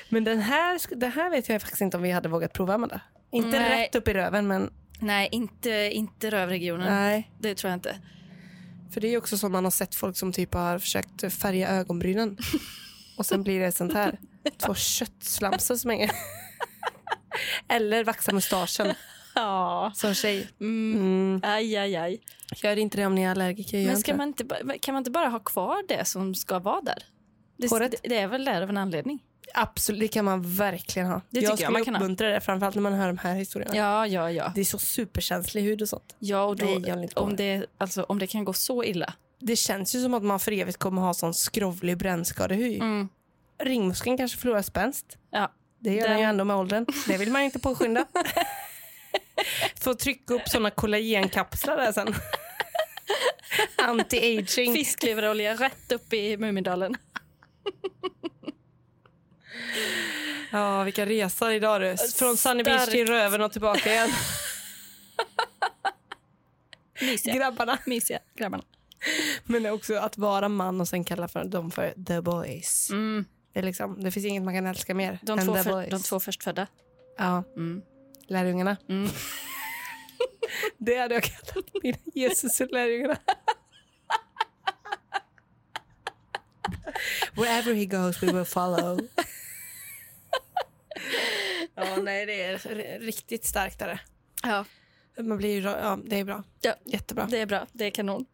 Men den här, sk- den här vet jag faktiskt inte om vi hade vågat prova med det. Inte Nej. Mm. rätt upp i röven men Nej, inte, inte rövregionen. nej. Det tror jag inte. För det är ju också så man har sett folk som typ har försökt färga [LAUGHS] ögonbrynen. Och sen blir det sånt här. Två köttslamsor som hänger. [LAUGHS] Eller vaxa mustaschen Ja. som tjej. Mm. Mm. Aj, aj, aj. Gör inte det om ni är allergiker. gör Men inte ska det. man inte, ba- kan man inte bara ha kvar det som ska vara där? Det, Håret? det- det är väl där av en anledning? Absolut, det kan man verkligen ha. Det jag tycker jag skulle man kan ha. uppmuntra det, framförallt när man hör de här historierna. Ja, ja, ja. Det är så superkänslig hud och sånt. Ja, och då, Nej, jag vill inte ha om, det, alltså, om det kan gå så illa. Det känns ju som att man för evigt kommer ha sån skrovlig brännskadehy. Mm. Ringmuskeln kanske förlorar spänst. Ja. Det gör Den- den ju ändå med åldern. Det vill man ju [LAUGHS] inte påskynda. Få trycka upp såna kollagenkapslar [LAUGHS] där sen. Anti-aging. Fiskleverolja rätt upp i Mumindalen. Ja, vilka resor idag du. Från Sunny Beach till Starkt. Röven och tillbaka [LAUGHS] igen. Mysiga. Grabbarna. Mysiga grabbarna. Men också att vara man och sen kalla för dem för the boys. Mm. Det, är liksom, det finns inget man kan älska mer De, än två the för, boys. de två förstfödda. Ja, Mm. lärjungarna. Mm. [LAUGHS] Det hade jag kallat mina Jesus [LAUGHS] och lärjungarna. Wherever he goes we will follow. [LAUGHS] ja, nej, det är r- riktigt starkt. Där. Ja, Man blir, ju ra- ja, det är bra. Ja. Jättebra. det är bra. Det är kanon.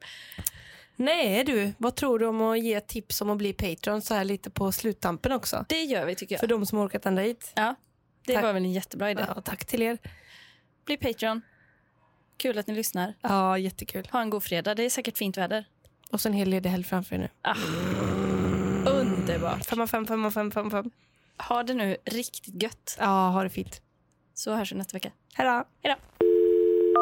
Nej, du. Vad tror du om att ge tips om att bli Patreon så här lite på sluttampen också? Det gör vi, tycker För jag. de som har orkat ända hit. Ja, det Tack. var väl en jättebra idé. Ja, tack till er. Bli Patreon. Kul att ni lyssnar. Ja, jättekul. Ha en god fredag. Det är säkert fint väder. Och så en hel ledig helg framför er nu. Ah. Underbart. Fem av fem, fem av fem, fem av fem. Ha det nu riktigt gött. Ja, ha det fint. Så hörs vi nästa vecka. Hej då. Hej då.